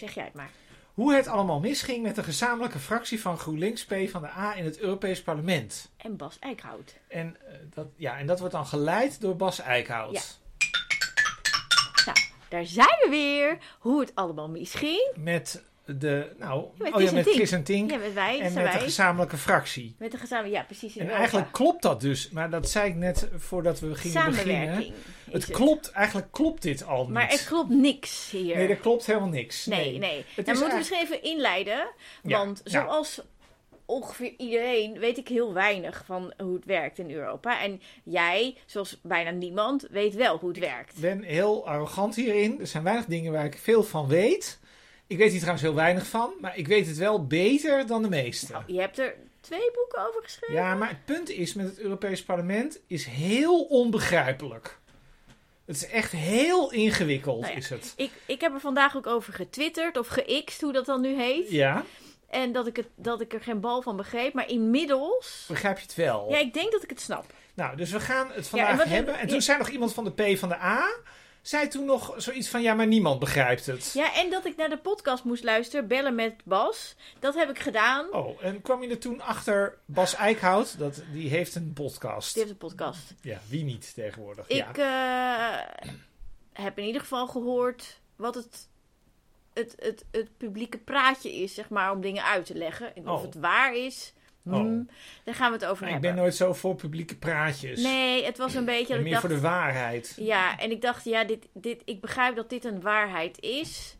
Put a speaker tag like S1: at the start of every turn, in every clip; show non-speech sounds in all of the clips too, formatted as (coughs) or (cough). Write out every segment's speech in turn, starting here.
S1: Zeg jij het maar.
S2: Hoe het allemaal misging met de gezamenlijke fractie van GroenLinks, P van de A in het Europees Parlement.
S1: En Bas Eickhout.
S2: En, eh, dat, ja, en dat wordt dan geleid door Bas Eickhout.
S1: Ja. Daar zijn we weer. Hoe het allemaal misging.
S2: Met de, nou,
S1: Ja, met
S2: oh
S1: Chris
S2: ja,
S1: en
S2: met
S1: Tink.
S2: Chris en Tink.
S1: Ja, met wij.
S2: en
S1: zijn
S2: met de
S1: wij.
S2: gezamenlijke fractie.
S1: Met de gezamen. Ja, precies. in
S2: En
S1: Europa.
S2: eigenlijk klopt dat dus, maar dat zei ik net voordat we gingen beginnen.
S1: Samenwerking. is
S2: Het klopt, eigenlijk klopt dit al niet.
S1: Maar er klopt niks hier.
S2: Nee, er klopt helemaal niks.
S1: Nee, nee.
S2: Het
S1: Daar
S2: is
S1: moeten we
S2: eigenlijk-
S1: misschien even inleiden.
S2: Ja,
S1: Want
S2: nou.
S1: zoals ongeveer iedereen weet ik heel weinig van hoe het werkt in Europa. En jij, zoals bijna niemand, weet wel hoe het werkt.
S2: Ik ben heel arrogant hierin. Er zijn weinig dingen waar ik veel van weet. Ik weet hier trouwens heel weinig van, maar ik weet het wel beter dan de meesten.
S1: Nou, je hebt er twee boeken over geschreven.
S2: Ja, maar het punt is met het Europees Parlement is heel onbegrijpelijk. Het is echt heel ingewikkeld,
S1: Nou ja.
S2: is het.
S1: Ik, ik heb er vandaag ook over getwitterd of geixt, hoe dat dan nu heet.
S2: Ja,
S1: En dat ik, het, dat ik er geen bal van begreep. Maar inmiddels.
S2: begrijp je het wel?
S1: Ja, ik denk dat ik het snap.
S2: Nou, dus we gaan het vandaag
S1: en wat-
S2: hebben. En toen
S1: ja.
S2: zei nog iemand van de P van de A, zei toen nog zoiets van, ja, maar niemand begrijpt het.
S1: Ja, en dat ik naar de podcast moest luisteren, bellen met Bas. Dat heb ik gedaan.
S2: Oh, en kwam je er toen achter Bas Eickhout? Dat, die heeft een podcast.
S1: Dit is een podcast.
S2: Ja, wie niet tegenwoordig? ja.
S1: Ik eh, heb in ieder geval gehoord wat het, het, het, het publieke praatje is, zeg maar, om dingen uit te leggen. En of
S2: Oh.
S1: het waar is, hmm, daar gaan we het over
S2: Maar ik
S1: hebben.
S2: ben nooit zo voor publieke praatjes.
S1: Nee, het was een beetje dat
S2: En meer
S1: ik dacht...
S2: voor de waarheid.
S1: Ja, en ik dacht, ja, dit, dit, ik begrijp dat dit een waarheid is.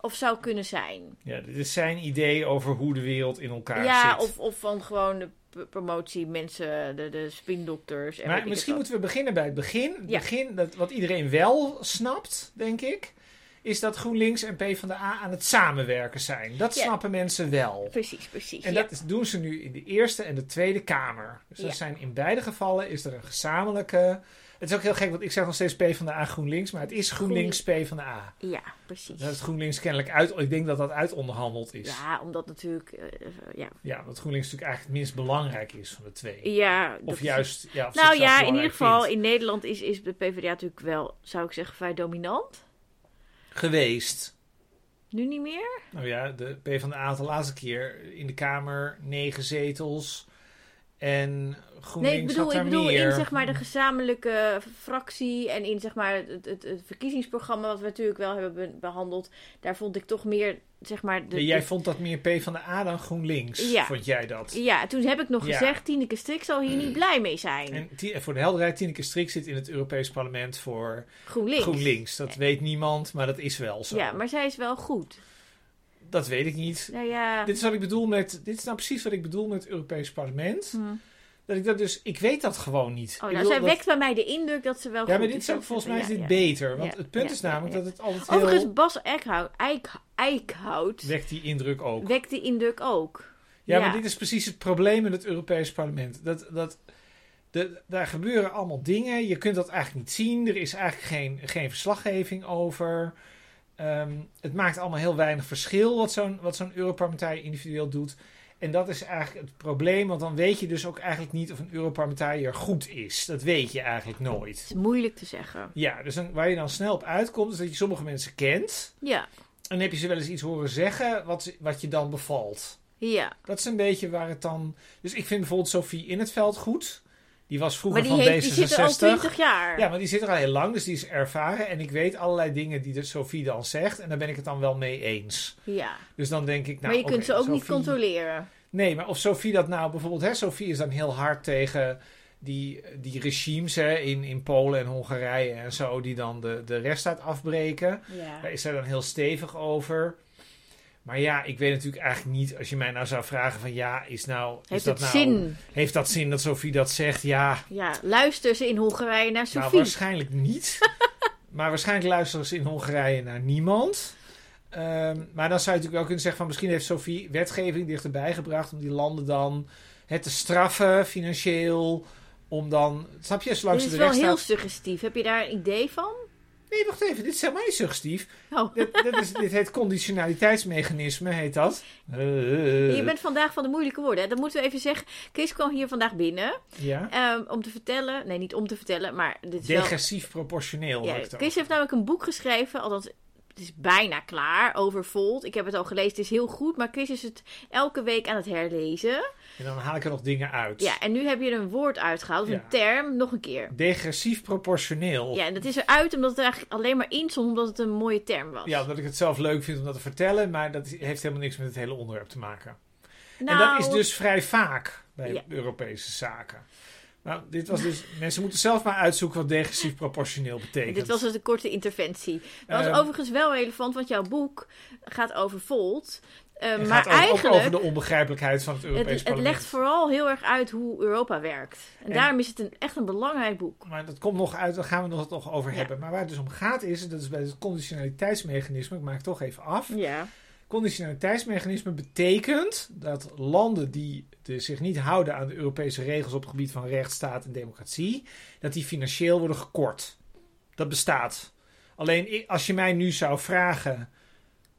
S1: Of zou kunnen zijn.
S2: Ja, dit is zijn idee over hoe de wereld in elkaar
S1: ja,
S2: zit.
S1: of, of van gewoon de p- promotie, mensen, de, de spindokters. En weet
S2: maar
S1: ik
S2: misschien
S1: het
S2: moeten we beginnen bij het begin. Het
S1: Ja.
S2: begin, dat, wat iedereen wel snapt, denk ik, is dat GroenLinks en PvdA aan het samenwerken zijn. Dat
S1: Ja.
S2: snappen mensen wel.
S1: wat. Precies, precies.
S2: En
S1: ja.
S2: dat is- doen ze nu in de Eerste en de Tweede Kamer. Dus dat
S1: Ja.
S2: zijn in beide gevallen is er een gezamenlijke... Het is ook heel gek, want ik zeg nog steeds PvdA GroenLinks, maar het is GroenLinks PvdA.
S1: ja, precies.
S2: Dat is GroenLinks kennelijk uit... Ik denk dat dat uitonderhandeld is.
S1: Ja, omdat natuurlijk. eh, ja,
S2: Ja, want GroenLinks natuurlijk eigenlijk het minst belangrijk is van de twee.
S1: ja, dat
S2: Of
S1: is-
S2: juist... Ja,
S1: Nou
S2: of zichzelf
S1: ja, in
S2: belangrijk
S1: ieder geval
S2: vindt.
S1: in Nederland is, is de PvdA natuurlijk wel, zou ik zeggen, vrij dominant.
S2: Geweest.
S1: Nu niet meer.
S2: Nou ja, de PvdA de laatste keer in de Kamer negen zetels. En GroenLinks
S1: Nee, ik bedoel,
S2: had
S1: ik
S2: daar
S1: bedoel
S2: meer.
S1: in zeg maar, de gezamenlijke fractie en in zeg maar, het, het, het verkiezingsprogramma, wat we natuurlijk wel hebben be- behandeld. Daar vond ik toch meer, zeg maar. De,
S2: Ja, jij
S1: de-
S2: vond dat meer PvdA dan GroenLinks,
S1: Ja.
S2: vond jij dat?
S1: ja, toen heb ik nog
S2: Ja. Mm.
S1: gezegd: Tineke Strik zal hier niet blij mee zijn.
S2: En Ti- voor de helderheid, Tineke Strik zit in het Europees Parlement voor
S1: GroenLinks.
S2: GroenLinks. Dat weet niemand, maar dat is wel zo.
S1: Ja, maar zij is wel goed.
S2: Dat weet ik niet.
S1: Nou ja.
S2: Dit is wat ik bedoel met. Dit is nou precies wat ik bedoel met het Europees Parlement.
S1: hm.
S2: Dat ik dat dus. Ik weet dat gewoon niet.
S1: Oh,
S2: ik
S1: nou,
S2: bedoel
S1: zij
S2: dat-
S1: wekt bij mij de indruk dat ze wel
S2: Ja, maar
S1: goed
S2: dit
S1: is.
S2: is ook volgens mij is
S1: Ja,
S2: dit
S1: ja.
S2: beter. Want
S1: Ja,
S2: het punt
S1: ja,
S2: is namelijk
S1: ja, ja.
S2: dat het altijd heel...
S1: Overigens, Bas Eickhout, Eik, Eickhout
S2: wekt die indruk ook.
S1: wekt die indruk ook.
S2: Ja, maar dit is precies het probleem in het Europees Parlement. Dat, dat, de, daar gebeuren allemaal dingen. Je kunt dat eigenlijk niet zien. Er is eigenlijk geen, geen verslaggeving over. Ehm, het maakt allemaal heel weinig verschil wat zo'n, wat zo'n Europarlementariër individueel doet. En dat is eigenlijk het probleem, want dan weet je dus ook eigenlijk niet of een Europarlementariër goed is. Dat weet je eigenlijk nooit.
S1: is moeilijk te zeggen.
S2: Ja, dus dan, waar je dan snel op uitkomt, is dat je sommige mensen kent.
S1: Ja,
S2: En heb je ze wel eens iets horen zeggen wat, wat je dan bevalt?
S1: ja.
S2: Dat is een beetje waar het dan. Dus ik vind bijvoorbeeld Sophie in het veld goed. Die was
S1: Maar
S2: vroeger
S1: die,
S2: van
S1: heeft,
S2: D66.
S1: die zit er al twintig jaar.
S2: ja, maar die zit er al heel lang, dus die is ervaren. En ik weet allerlei dingen die de Sophie dan zegt. En daar ben ik het dan wel mee eens.
S1: Ja.
S2: Dus dan denk ik, nou.
S1: maar je kunt
S2: oké,
S1: ze ook niet
S2: Sophie-
S1: controleren.
S2: Nee, maar of Sophie dat nou bijvoorbeeld, hè, Sophie is dan heel hard tegen die, die regimes hè, in, in Polen en Hongarije en zo, die dan de, de rechtsstaat afbreken.
S1: Ja.
S2: Daar is zij dan heel stevig over. Maar ja, ik weet natuurlijk eigenlijk niet, als je mij nou zou vragen van ja, is nou. is
S1: Heeft
S2: dat
S1: het
S2: nou,
S1: zin?
S2: Heeft dat zin dat Sophie dat zegt? Ja,
S1: Ja, luister ze in Hongarije naar
S2: nou
S1: Sofie.
S2: waarschijnlijk niet. (laughs) maar waarschijnlijk luisteren ze in Hongarije naar niemand. Ehm, maar dan zou je natuurlijk wel kunnen zeggen van misschien heeft Sophie wetgeving dichterbij gebracht om die landen dan het te straffen financieel. Om dan, snap je, zolang
S1: Dit
S2: ze
S1: is
S2: de
S1: wel
S2: rechtsstaat...
S1: heel suggestief. Heb je daar een idee van?
S2: Nee, wacht even, dit is helemaal niet suggestief.
S1: Oh.
S2: Dit, dit, is, dit heet conditionaliteitsmechanisme, heet dat. Eh,
S1: Je bent vandaag van de moeilijke woorden. hè. Dat moeten we even zeggen. Kees kwam hier vandaag binnen
S2: Ja.
S1: ehm, om te vertellen. Nee, niet om te vertellen, maar dit is wel...
S2: Degressief proportioneel.
S1: Ja,
S2: wordt het ook.
S1: Kees heeft namelijk een boek geschreven, althans het is bijna klaar over Volt. Ik heb het al gelezen, het is heel goed. Maar Chris is het elke week aan het herlezen.
S2: En dan haal ik er nog dingen uit.
S1: Ja, en nu heb je er een woord uitgehaald, of
S2: Ja.
S1: een term, nog een keer.
S2: Degressief proportioneel.
S1: Ja, en dat is eruit omdat het er eigenlijk alleen maar in stond omdat het een mooie term was.
S2: Ja, omdat ik het zelf leuk vind om dat te vertellen, maar dat heeft helemaal niks met het hele onderwerp te maken.
S1: nou,
S2: En dat is dus vrij vaak bij
S1: Ja.
S2: Europese zaken. Nou, dit
S1: (laughs)
S2: was dus. mensen moeten zelf maar uitzoeken wat degressief proportioneel betekent.
S1: Dit was dus een korte interventie. Dat was
S2: Ehm,
S1: overigens wel relevant, want jouw boek gaat over Volt. Eh,
S2: En
S1: maar
S2: gaat ook- ook over
S1: eigenlijk,
S2: de onbegrijpelijkheid van het Europees
S1: het, het
S2: parlement.
S1: legt vooral heel erg uit hoe Europa werkt. En,
S2: En-
S1: daarom is het een, echt een belangrijk boek.
S2: Maar dat komt nog uit, daar gaan we het nog over
S1: Ja.
S2: hebben. Maar waar het dus om gaat is, dat is bij het conditionaliteitsmechanisme, ik maak het toch even af.
S1: Ja.
S2: Conditionaliteitsmechanisme betekent dat landen die de- zich niet houden aan de Europese regels op het gebied van rechtsstaat en democratie, dat die financieel worden gekort. Dat bestaat. Alleen i- als je mij nu zou vragen,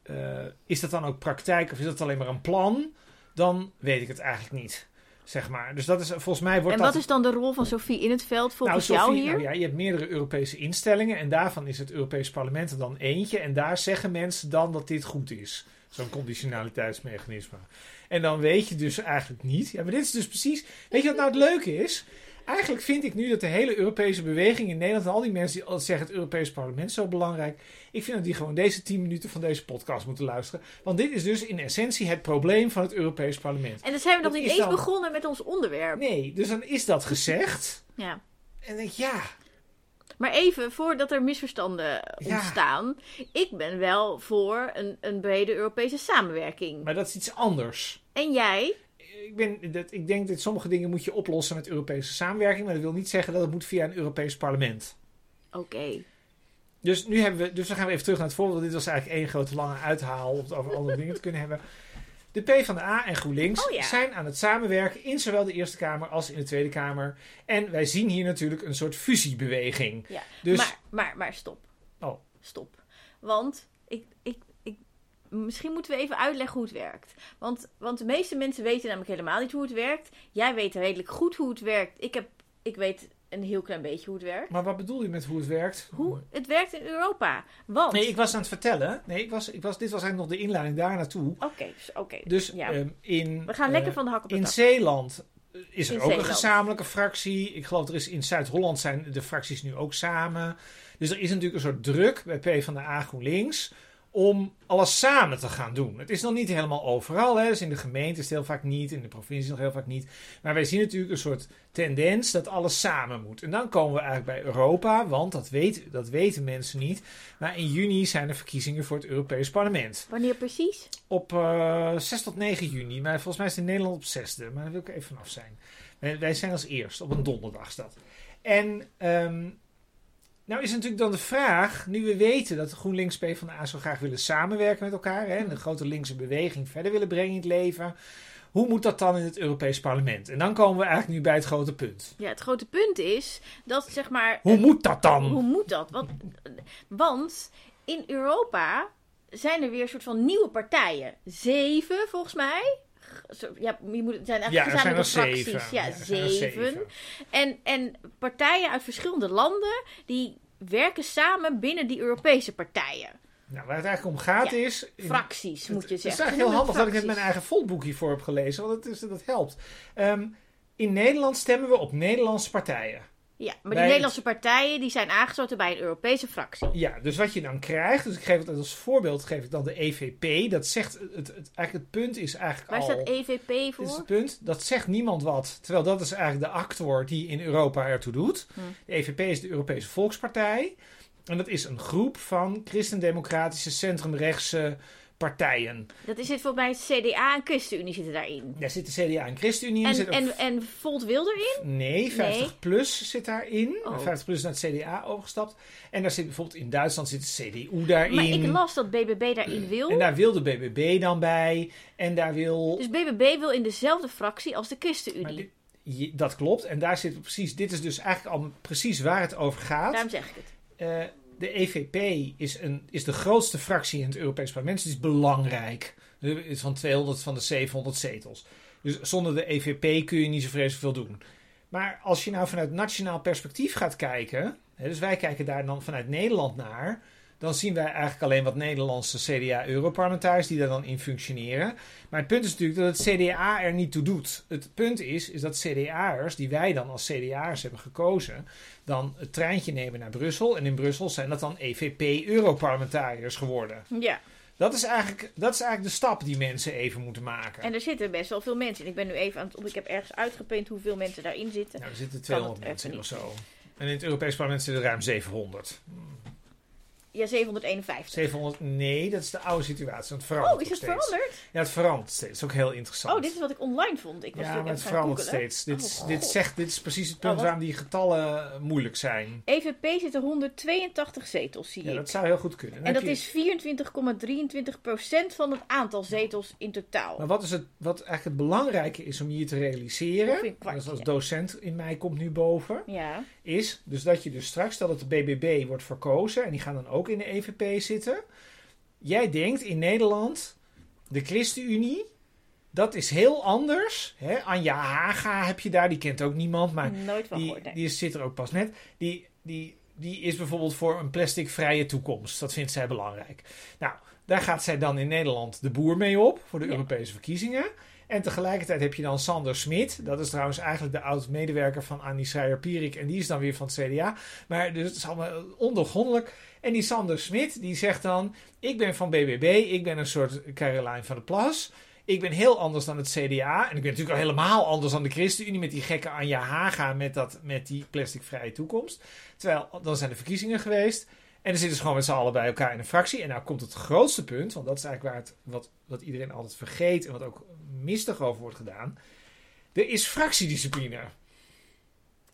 S2: eh, is dat dan ook praktijk of is dat alleen maar een plan? Dan weet ik het eigenlijk niet. Zeg maar. Dus dat is volgens mij wordt
S1: En
S2: dat
S1: wat is dan de rol van Sophie in het veld volgens
S2: nou,
S1: jou
S2: Sophie,
S1: hier?
S2: nou ja, je hebt meerdere Europese instellingen en daarvan is het Europees parlement er dan eentje. En daar zeggen mensen dan dat dit goed is. Zo'n conditionaliteitsmechanisme. En dan weet je dus eigenlijk niet. Ja, maar dit is dus precies. Weet je wat nou het leuke is? Eigenlijk vind ik nu dat de hele Europese beweging in Nederland en al die mensen die altijd zeggen het Europees parlement is zo belangrijk. Ik vind dat die gewoon deze 10 minuten van deze podcast moeten luisteren. Want dit is dus in essentie het probleem van het Europees parlement.
S1: En dan zijn we nog
S2: dat
S1: niet
S2: is
S1: eens
S2: dan-
S1: begonnen met ons onderwerp.
S2: Nee, dus dan is dat gezegd.
S1: Ja.
S2: En dan denk ik, ja,
S1: Maar even, voordat er misverstanden eh,
S2: Ja.
S1: ontstaan. Ik ben wel voor een, een brede Europese samenwerking.
S2: maar dat is iets anders.
S1: En jij?
S2: Ik, ben, dat, ik denk dat sommige dingen moet je oplossen met Europese samenwerking. Maar dat wil niet zeggen dat het moet via een Europees parlement.
S1: Oké.
S2: Dus nu hebben we, dus dan gaan we even terug naar het voorbeeld. want Dit was eigenlijk één grote lange uithaal om het over andere dingen te kunnen hebben. De PvdA en GroenLinks
S1: Oh ja.
S2: zijn aan het samenwerken in zowel de Eerste Kamer als in de Tweede Kamer. En wij zien hier natuurlijk een soort fusiebeweging.
S1: Ja.
S2: Dus
S1: Maar, maar, maar stop.
S2: Oh.
S1: Stop. Want ik, ik, ik, misschien moeten we even uitleggen hoe het werkt. Want, want de meeste mensen weten namelijk helemaal niet hoe het werkt. Jij weet redelijk goed hoe het werkt. Ik, heb, ik weet een heel klein beetje hoe het werkt.
S2: Maar wat bedoel je met hoe het werkt?
S1: Hoe het werkt in Europa. Want.
S2: Nee, ik was aan het vertellen. Nee, ik was, ik was, dit was eigenlijk nog de inleiding daar naartoe.
S1: Oké, dus- oké.
S2: Dus
S1: ja.
S2: ehm, in.
S1: we gaan
S2: eh,
S1: lekker van de hak op de
S2: In
S1: tak.
S2: Zeeland eh, is er
S1: In
S2: ook
S1: Zeeland.
S2: een gezamenlijke fractie. Ik geloof er is in Zuid-Holland zijn de fracties nu ook samen. Dus er is natuurlijk een soort druk bij PvdA GroenLinks om alles samen te gaan doen. Het is nog niet helemaal overal. Hè. Dus in de gemeente is het heel vaak niet, in de provincie nog heel vaak niet. Maar wij zien natuurlijk een soort tendens dat alles samen moet. En dan komen we eigenlijk bij Europa, want dat, weet, dat weten mensen niet. Maar in juni zijn er verkiezingen voor het Europees Parlement.
S1: Wanneer precies?
S2: Op eh 6 tot 9 juni. Maar volgens mij is het in Nederland op 6e. Maar daar wil ik even vanaf zijn. Wij, wij zijn als eerst. Op een donderdag is dat. En ehm, nou is natuurlijk dan de vraag. Nu we weten dat de GroenLinks PvdA zo graag willen samenwerken met elkaar. Hè, en de grote linkse beweging verder willen brengen in het leven. Hoe moet dat dan in het Europees parlement? En dan komen we eigenlijk nu bij het grote punt.
S1: Ja, het grote punt is dat zeg maar. eh,
S2: Hoe moet dat
S1: Hoe
S2: dan?
S1: moet dat? Want, eh, want in Europa zijn er weer een soort van nieuwe partijen. Zeven, volgens mij. Zo- Ja, je moet, het zijn eigenlijk
S2: Ja, er zijn
S1: gezamenlijke
S2: er
S1: fracties.
S2: zeven.
S1: Ja,
S2: er zijn er
S1: zeven. En, en partijen uit verschillende landen die werken samen binnen die Europese partijen.
S2: Nou, waar het eigenlijk om gaat
S1: Ja,
S2: is... in-
S1: Fracties, moet je
S2: Het is
S1: zeggen.
S2: eigenlijk heel
S1: Ze
S2: handig
S1: noemen
S2: dat ik
S1: het
S2: net mijn
S1: fracties.
S2: eigen volboek hiervoor heb gelezen, want dat, is, dat helpt. Ehm, in Nederland stemmen we op Nederlandse partijen.
S1: Ja, maar
S2: bij
S1: die
S2: het-
S1: Nederlandse partijen die zijn aangesloten bij een Europese fractie.
S2: Ja, dus wat je dan krijgt, dus ik geef het als voorbeeld, geef ik dan de EVP. Dat zegt, het, het, eigenlijk het punt is eigenlijk
S1: Waar
S2: al...
S1: staat EVP
S2: Dit is
S1: voor?
S2: het punt. Dat zegt niemand wat. Terwijl dat is eigenlijk de actor die in Europa ertoe doet.
S1: Hm.
S2: De EVP is de Europese Volkspartij. En dat is een groep van christendemocratische centrumrechtse partijen.
S1: Dat is het voor mij CDA en ChristenUnie zitten daarin.
S2: Daar zit de CDA en ChristenUnie in.
S1: En,
S2: zit ook
S1: en, en Volt wil erin?
S2: Nee, 50 plus zit daarin.
S1: Oh.
S2: 50 plus is naar het CDA overgestapt. En daar zit bijvoorbeeld in Duitsland zit de CDU daarin.
S1: Maar ik las dat BBB daarin
S2: En nou-
S1: wil.
S2: daar wil de BBB dan bij. En daar wil.
S1: Dus BBB wil in dezelfde fractie als de ChristenUnie.
S2: Maar dit- je- dat klopt. En daar zit precies. Dit is dus eigenlijk al precies waar het over gaat.
S1: Daarom zeg ik het.
S2: Eh, de EVP is, een, is de grootste fractie in het Europees parlement. Dus die is belangrijk. Het is van 200 van de 700 zetels. Dus zonder de EVP kun je niet zo vreselijk veel doen. Maar als je nou vanuit nationaal perspectief gaat kijken. Hè, dus wij kijken daar dan vanuit Nederland naar. dan zien wij eigenlijk alleen wat Nederlandse CDA-europarlementariërs die daar dan in functioneren. Maar het punt is natuurlijk dat het CDA er niet toe doet. Het punt is, is dat CDA'ers, die wij dan als CDA'ers hebben gekozen, dan het treintje nemen naar Brussel. En in Brussel zijn dat dan EVP-europarlementariërs geworden.
S1: Ja.
S2: Dat is, eigenlijk, dat is eigenlijk de stap die mensen even moeten maken.
S1: En er zitten best wel veel mensen in. Ik ben nu even aan het op. Ik heb ergens uitgeprint hoeveel mensen daarin zitten.
S2: nou, er zitten
S1: kan het
S2: 200 mensen in of
S1: even
S2: zo. En in het Europees parlement zitten er ruim 700.
S1: Ja, 751.
S2: 700, nee, dat is de oude situatie. want Het verandert
S1: Oh, is
S2: nog
S1: het
S2: steeds.
S1: veranderd?
S2: Ja, het verandert steeds. Dat is ook heel interessant.
S1: Oh, dit is wat ik online vond. Ik was
S2: ja,
S1: natuurlijk
S2: maar het
S1: even gaan
S2: verandert
S1: googelen.
S2: steeds. Dit, is-
S1: Oh,
S2: dit,
S1: God.
S2: zegt, dit is precies het punt
S1: Oh, wat-
S2: waarom die getallen eh, moeilijk zijn.
S1: EVP zitten 182 zetels, zie
S2: Ja,
S1: ik.
S2: dat zou heel goed kunnen. Dan
S1: En
S2: heb
S1: dat
S2: je-
S1: is 24,23% van het aantal zetels in totaal.
S2: Maar wat, is het, wat eigenlijk het belangrijke is om je hier te
S1: Of
S2: realiseren...
S1: een kwartje.
S2: dat als docent in mij komt nu boven...
S1: Ja,
S2: is dus dat je dus straks, dat het de BBB wordt verkozen en die gaan dan ook in de EVP zitten. Jij denkt in Nederland, de ChristenUnie, dat is heel anders. Hè? Anja Haga heb je daar, die kent ook niemand, maar
S1: nooit van
S2: die,
S1: gehoord. nee.
S2: die is, zit er ook pas net. Die, die, die is bijvoorbeeld voor een plasticvrije toekomst. Dat vindt zij belangrijk. Nou, daar gaat zij dan in Nederland de boer mee op voor de
S1: Ja.
S2: Europese verkiezingen. En tegelijkertijd heb je dan Sander Smit. Dat is trouwens eigenlijk de oud-medewerker van Annie Schreier-Pierik. En die is dan weer van het CDA. Maar dus het is allemaal ondoorgrondelijk. En die Sander Smit, die zegt dan... Ik ben van BBB, ik ben een soort Caroline van der Plas. Ik ben heel anders dan het CDA. En ik ben natuurlijk al helemaal anders dan de ChristenUnie... met die gekke Anja Haga met, dat, met die plasticvrije toekomst. Terwijl, dan zijn de verkiezingen geweest... En dan zitten ze gewoon met z'n allen bij elkaar in een fractie. En nou komt het grootste punt, want dat is eigenlijk waar het, wat, wat iedereen altijd vergeet en wat ook mistig over wordt gedaan. Er is fractiediscipline.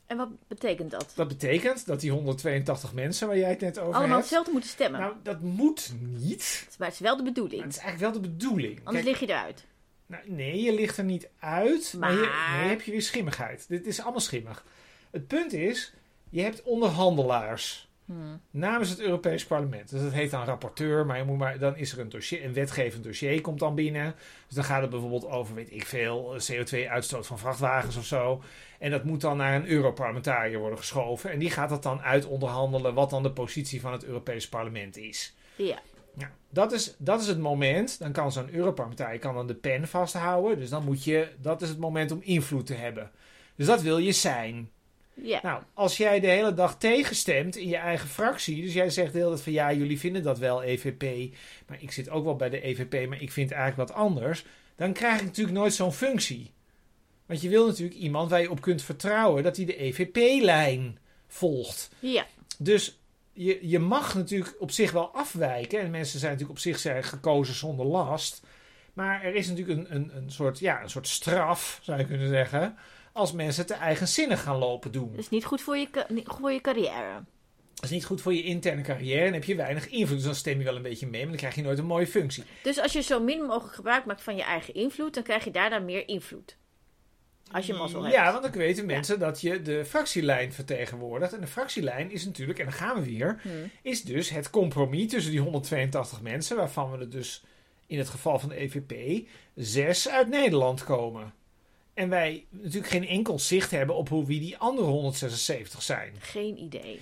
S1: En wat betekent dat?
S2: Dat betekent dat die 182 mensen waar jij het net over
S1: Allemaal
S2: hebt.
S1: hetzelfde moeten stemmen.
S2: Nou, dat moet niet.
S1: Maar het is wel de
S2: Maar
S1: bedoeling.
S2: het is eigenlijk wel de bedoeling.
S1: Anders
S2: Kijk,
S1: lig je eruit.
S2: nou, nee, je ligt er niet uit. Maar, je,
S1: Maar-
S2: nee, heb je weer schimmigheid. Dit is allemaal schimmig. Het punt is, je hebt onderhandelaars.
S1: Hm.
S2: namens het Europees Parlement. Dus dat heet dan rapporteur, maar, je moet maar dan is er een dossier, een wetgevend dossier komt dan binnen. Dus dan gaat het bijvoorbeeld over, weet ik veel, CO2-uitstoot van vrachtwagens of zo. En dat moet dan naar een Europarlementariër worden geschoven. En die gaat dat dan uit onderhandelen wat dan de positie van het Europees Parlement is.
S1: Ja.
S2: Nou, dat is, dat is het moment. Dan kan zo'n Europarlementariër kan dan de pen vasthouden. Dus dan moet je, dat is het moment om invloed te hebben. Dus dat wil je zijn.
S1: Ja.
S2: Nou, als jij de hele dag tegenstemt in je eigen fractie, dus jij zegt de hele tijd van ja, jullie vinden dat wel EVP, maar ik zit ook wel bij de EVP, maar ik vind eigenlijk wat anders, dan krijg ik natuurlijk nooit zo'n functie. Want je wil natuurlijk iemand waar je op kunt vertrouwen dat hij de EVP-lijn volgt.
S1: ja.
S2: Dus je, je mag natuurlijk op zich wel afwijken. En mensen zijn natuurlijk op zich zijn gekozen zonder last. Maar er is natuurlijk een, een, een, soort, ja, een soort straf, zou je kunnen zeggen. Als mensen te eigenzinnig gaan lopen doen.
S1: Dat is niet goed voor je, ca- niet goed voor je carrière.
S2: Dat is niet goed voor je interne carrière. En heb je weinig invloed. Dus dan stem je wel een beetje mee. Maar dan krijg je nooit een mooie functie.
S1: Dus als je zo min mogelijk gebruik maakt van je eigen invloed, dan krijg je daarna meer invloed. Als je mazzel hebt.
S2: Hmm. Mm, Ja, want dan weten mensen dat je de fractielijn vertegenwoordigt. En de fractielijn is natuurlijk, en dan gaan we weer.
S1: Hm.
S2: is dus het compromis tussen die 182 mensen, waarvan we er dus in het geval van de EVP zes uit Nederland komen. En wij natuurlijk geen enkel zicht hebben op hoe wie die andere 176 zijn.
S1: Geen idee.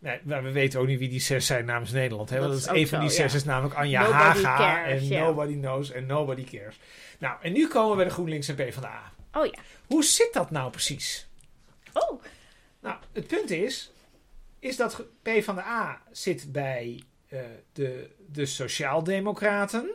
S2: Nee, maar we weten ook niet wie die zes zijn namens Nederland. Hè?
S1: Dat
S2: Want dat
S1: is
S2: is
S1: ook
S2: een van die
S1: zo,
S2: zes
S1: ja.
S2: is namelijk Anja
S1: Nobody
S2: Haga.
S1: cares,
S2: en
S1: ja.
S2: nobody knows en nobody cares. Nou, en nu komen we bij de GroenLinks en PvdA.
S1: Oh ja.
S2: Hoe zit dat nou precies?
S1: Oh.
S2: Nou, het punt is, is dat ge- PvdA zit bij eh, de, de Sociaaldemocraten.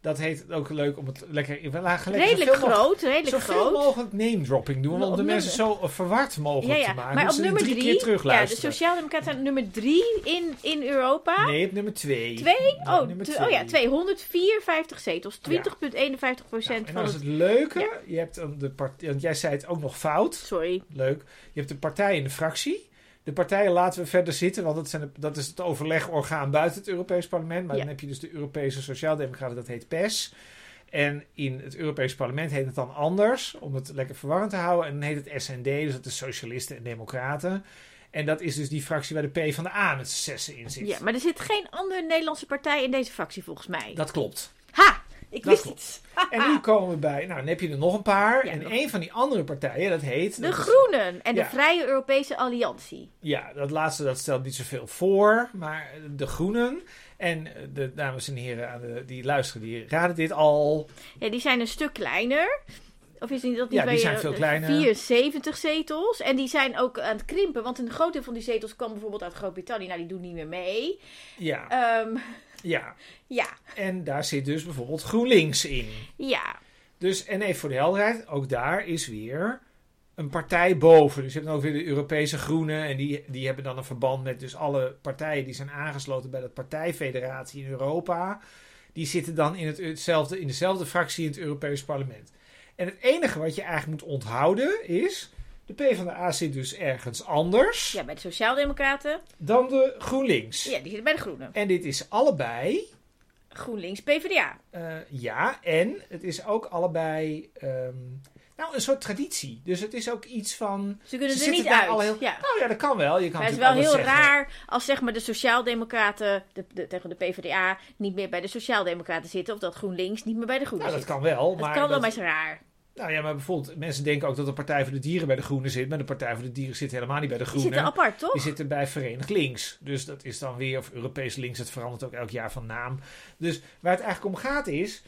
S2: Dat heet ook leuk om het lekker... We lagen lekker
S1: Redelijk
S2: zoveel mogelijk-
S1: groot. Redelijk
S2: Zoveel
S1: groot.
S2: mogelijk name-dropping doen, om
S1: Op
S2: de
S1: nummer-
S2: mensen zo eh, verward
S1: Ja,
S2: mogelijk
S1: ja.
S2: te maken.
S1: Maar
S2: dat
S1: op
S2: ze
S1: nummer
S2: drie,
S1: drie.
S2: keer
S1: ja, dus de
S2: terugluisteren.
S1: Sociaaldemocraten zijn nummer drie in, in Europa.
S2: Nee, op nummer twee.
S1: Twee?
S2: Ja,
S1: Oh,
S2: nummer
S1: tw- oh ja, 254 zetels. 20,51%
S2: Nou, en
S1: van
S2: dan
S1: het...
S2: is het leuke, je hebt dan de part- want jij zei het ook nog fout.
S1: Sorry.
S2: Leuk. Je hebt de partij en de fractie. De partijen laten we verder zitten, want dat, zijn de- dat is het overlegorgaan buiten het Europees Parlement. Maar
S1: Ja.
S2: dan heb je dus de Europese Sociaaldemocraten, dat heet PES. En in het Europees Parlement heet het dan anders, om het lekker verwarrend te houden. En dan heet het SND, dus dat is Socialisten en Democraten. En dat is dus die fractie waar de P van de A met z'n zessen in zit.
S1: Ja, maar er zit geen andere Nederlandse partij in deze fractie volgens mij.
S2: Dat klopt.
S1: Ha! Ik Ik
S2: Dat
S1: wist
S2: klopt.
S1: iets.
S2: En nu komen we bij, nou dan heb je er nog een paar.
S1: Ah. Ja,
S2: en
S1: nog.
S2: een van die andere partijen, dat heet...
S1: De
S2: dat is-
S1: Groenen en
S2: Ja.
S1: de Vrije Europese Alliantie.
S2: Ja, dat laatste dat stelt niet zoveel voor, maar de groenen en de dames en heren aan de, die luisteren, die raden dit al.
S1: Ja, die zijn een stuk kleiner. Of is niet dat
S2: Ja, die
S1: bij,
S2: zijn
S1: eh,
S2: veel kleiner.
S1: 74 zetels. En die zijn ook aan het krimpen. Want een groot deel van die zetels kwam bijvoorbeeld uit Groot-Brittannië. Nou, die doen niet meer mee.
S2: Ja,
S1: Ehm,
S2: ja.
S1: ja,
S2: En daar zit dus bijvoorbeeld GroenLinks in.
S1: ja.
S2: Dus, en even voor de helderheid, ook daar is weer een partij boven. Dus je hebt dan ook weer de Europese Groenen. En die, die hebben dan een verband met dus alle partijen die zijn aangesloten bij dat partijfederatie in Europa. Die zitten dan in, het, hetzelfde, in dezelfde fractie in het Europees parlement. En het enige wat je eigenlijk moet onthouden is... De PvdA zit dus ergens anders
S1: Ja, bij de Sociaaldemocraten.
S2: dan de GroenLinks.
S1: Ja, die zitten bij de Groenen.
S2: En dit is allebei
S1: GroenLinks, PvdA.
S2: Eh, ja, en het is ook allebei ehm, nou, een soort traditie. Dus het is ook iets van.
S1: Ze kunnen
S2: Ze
S1: er
S2: zitten
S1: niet
S2: daar
S1: uit.
S2: al heel-
S1: Ja.
S2: Nou ja, dat kan wel. Je kan
S1: Maar het is wel
S2: natuurlijk
S1: heel
S2: alles zeggen.
S1: raar als zeg maar, de Sociaaldemocraten de, de- tegen de PvdA niet meer bij de Sociaaldemocraten zitten. Of dat GroenLinks niet meer bij de Groenen
S2: Nou, dat
S1: zit.
S2: kan wel.
S1: Het
S2: maar
S1: kan wel,
S2: dat-
S1: maar is raar.
S2: Nou ja, maar bijvoorbeeld, mensen denken ook dat de Partij voor de Dieren bij de Groenen zit. Maar de Partij voor de Dieren zit helemaal niet bij de
S1: Die
S2: Groenen.
S1: zitten apart, toch?
S2: Die zitten bij Verenigd Links. Dus dat is dan weer, of Europees Links, het verandert ook elk jaar van naam. Dus waar het eigenlijk om gaat is,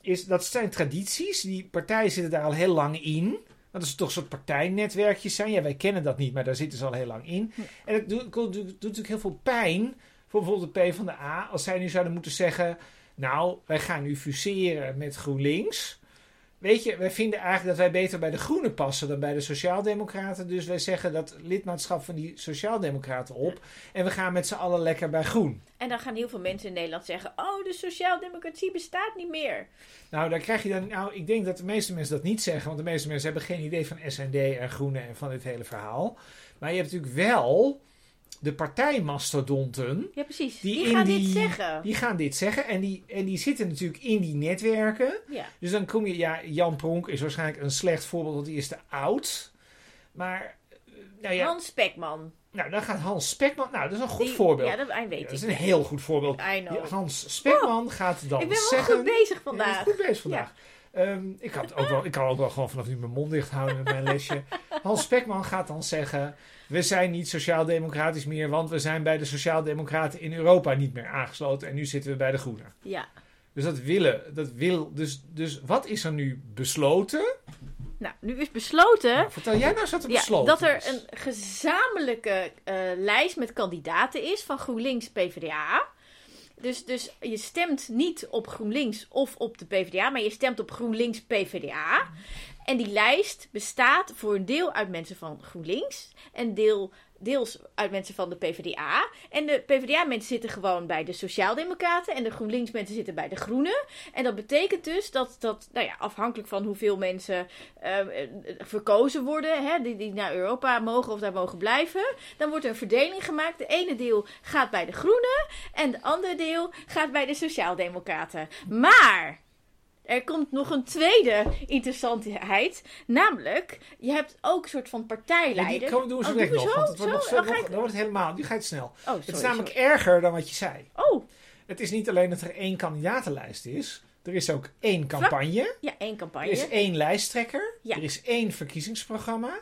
S2: is dat zijn tradities. Die partijen zitten daar al heel lang in. Dat is toch een soort partijnetwerkjes zijn. Ja, wij kennen dat niet, maar daar zitten ze al heel lang in.
S1: Ja.
S2: En het doet, doet, doet natuurlijk heel veel pijn voor bijvoorbeeld de P van de A. Als zij nu zouden moeten zeggen, nou, wij gaan nu fuseren met GroenLinks. Weet je, wij vinden eigenlijk dat wij beter bij de Groenen passen dan bij de Sociaaldemocraten. Dus wij zeggen dat lidmaatschap van die Sociaaldemocraten op. En we gaan met z'n allen lekker bij Groen.
S1: En dan gaan heel veel mensen in Nederland zeggen: Oh, de sociaaldemocratie bestaat niet meer.
S2: Nou, daar krijg je dan. Nou, ik denk dat de meeste mensen dat niet zeggen. Want de meeste mensen hebben geen idee van SND en Groenen en van dit hele verhaal. Maar je hebt natuurlijk wel de partijmastodonten.
S1: Ja, precies.
S2: Die
S1: Die,
S2: in
S1: gaan
S2: die-
S1: dit zeggen.
S2: Die gaan dit zeggen en die, en die zitten natuurlijk in die netwerken.
S1: Ja.
S2: Dus dan kom je, ja, Jan Pronk is waarschijnlijk een slecht voorbeeld, want die is te oud. Maar, eh, nou ja,
S1: Hans Spekman.
S2: nou, dan gaat Hans Spekman, nou, dat is een goed
S1: Die-
S2: voorbeeld.
S1: Ja, dat hij
S2: Ja,
S1: weet
S2: dat is
S1: ik.
S2: een heel goed voorbeeld.
S1: I know.
S2: Hans Spekman gaat dan
S1: Oh, ik ben wel
S2: zeggen...
S1: goed bezig
S2: Ja, je
S1: vandaag.
S2: bent goed bezig vandaag. Ehm, ik, kan het ook wel, ik kan ook wel gewoon vanaf nu mijn mond dicht houden met mijn lesje. Hans Spekman gaat dan zeggen... We zijn niet sociaal-democratisch meer... want we zijn bij de sociaal-democraten in Europa niet meer aangesloten... en nu zitten we bij de Groenen.
S1: Ja.
S2: Dus dat willen, dat wil. Dus, dus wat is er nu besloten?
S1: Nou, nu is besloten.
S2: Nou, vertel jij nou eens wat er
S1: Ja,
S2: besloten dus.
S1: dat er
S2: is.
S1: een gezamenlijke eh, lijst met kandidaten is van GroenLinks PvdA. Dus, dus je stemt niet op GroenLinks of op de PvdA, maar je stemt op GroenLinks PvdA. En die lijst bestaat voor een deel uit mensen van GroenLinks en deel, deels uit mensen van de PvdA. En de PvdA-mensen zitten gewoon bij de Sociaaldemocraten en de GroenLinks-mensen zitten bij de Groenen. En dat betekent dus dat, dat nou ja, afhankelijk van hoeveel mensen ehm, eh, verkozen worden, hè, die, die naar Europa mogen of daar mogen blijven, dan wordt er een verdeling gemaakt. De ene deel gaat bij de Groenen en de andere deel gaat bij de Sociaaldemocraten. Maar er komt nog een tweede interessantheid, namelijk je hebt ook een soort van
S2: Ja,
S1: partijleider.
S2: die komen doen we zo
S1: Oh,
S2: direct
S1: doen we
S2: nog.
S1: zo?
S2: Want het wordt, nog,
S1: Zo?
S2: zo-
S1: Dan ga
S2: nog-
S1: ik-
S2: dan wordt het helemaal. Nu gaat het snel.
S1: Oh, sorry,
S2: het is namelijk erger dan wat je zei.
S1: sorry. Oh,
S2: Het is niet alleen dat er één kandidatenlijst is. Er is ook één campagne.
S1: ja, één
S2: Er is
S1: campagne.
S2: één lijsttrekker.
S1: Ja.
S2: Er is één verkiezingsprogramma.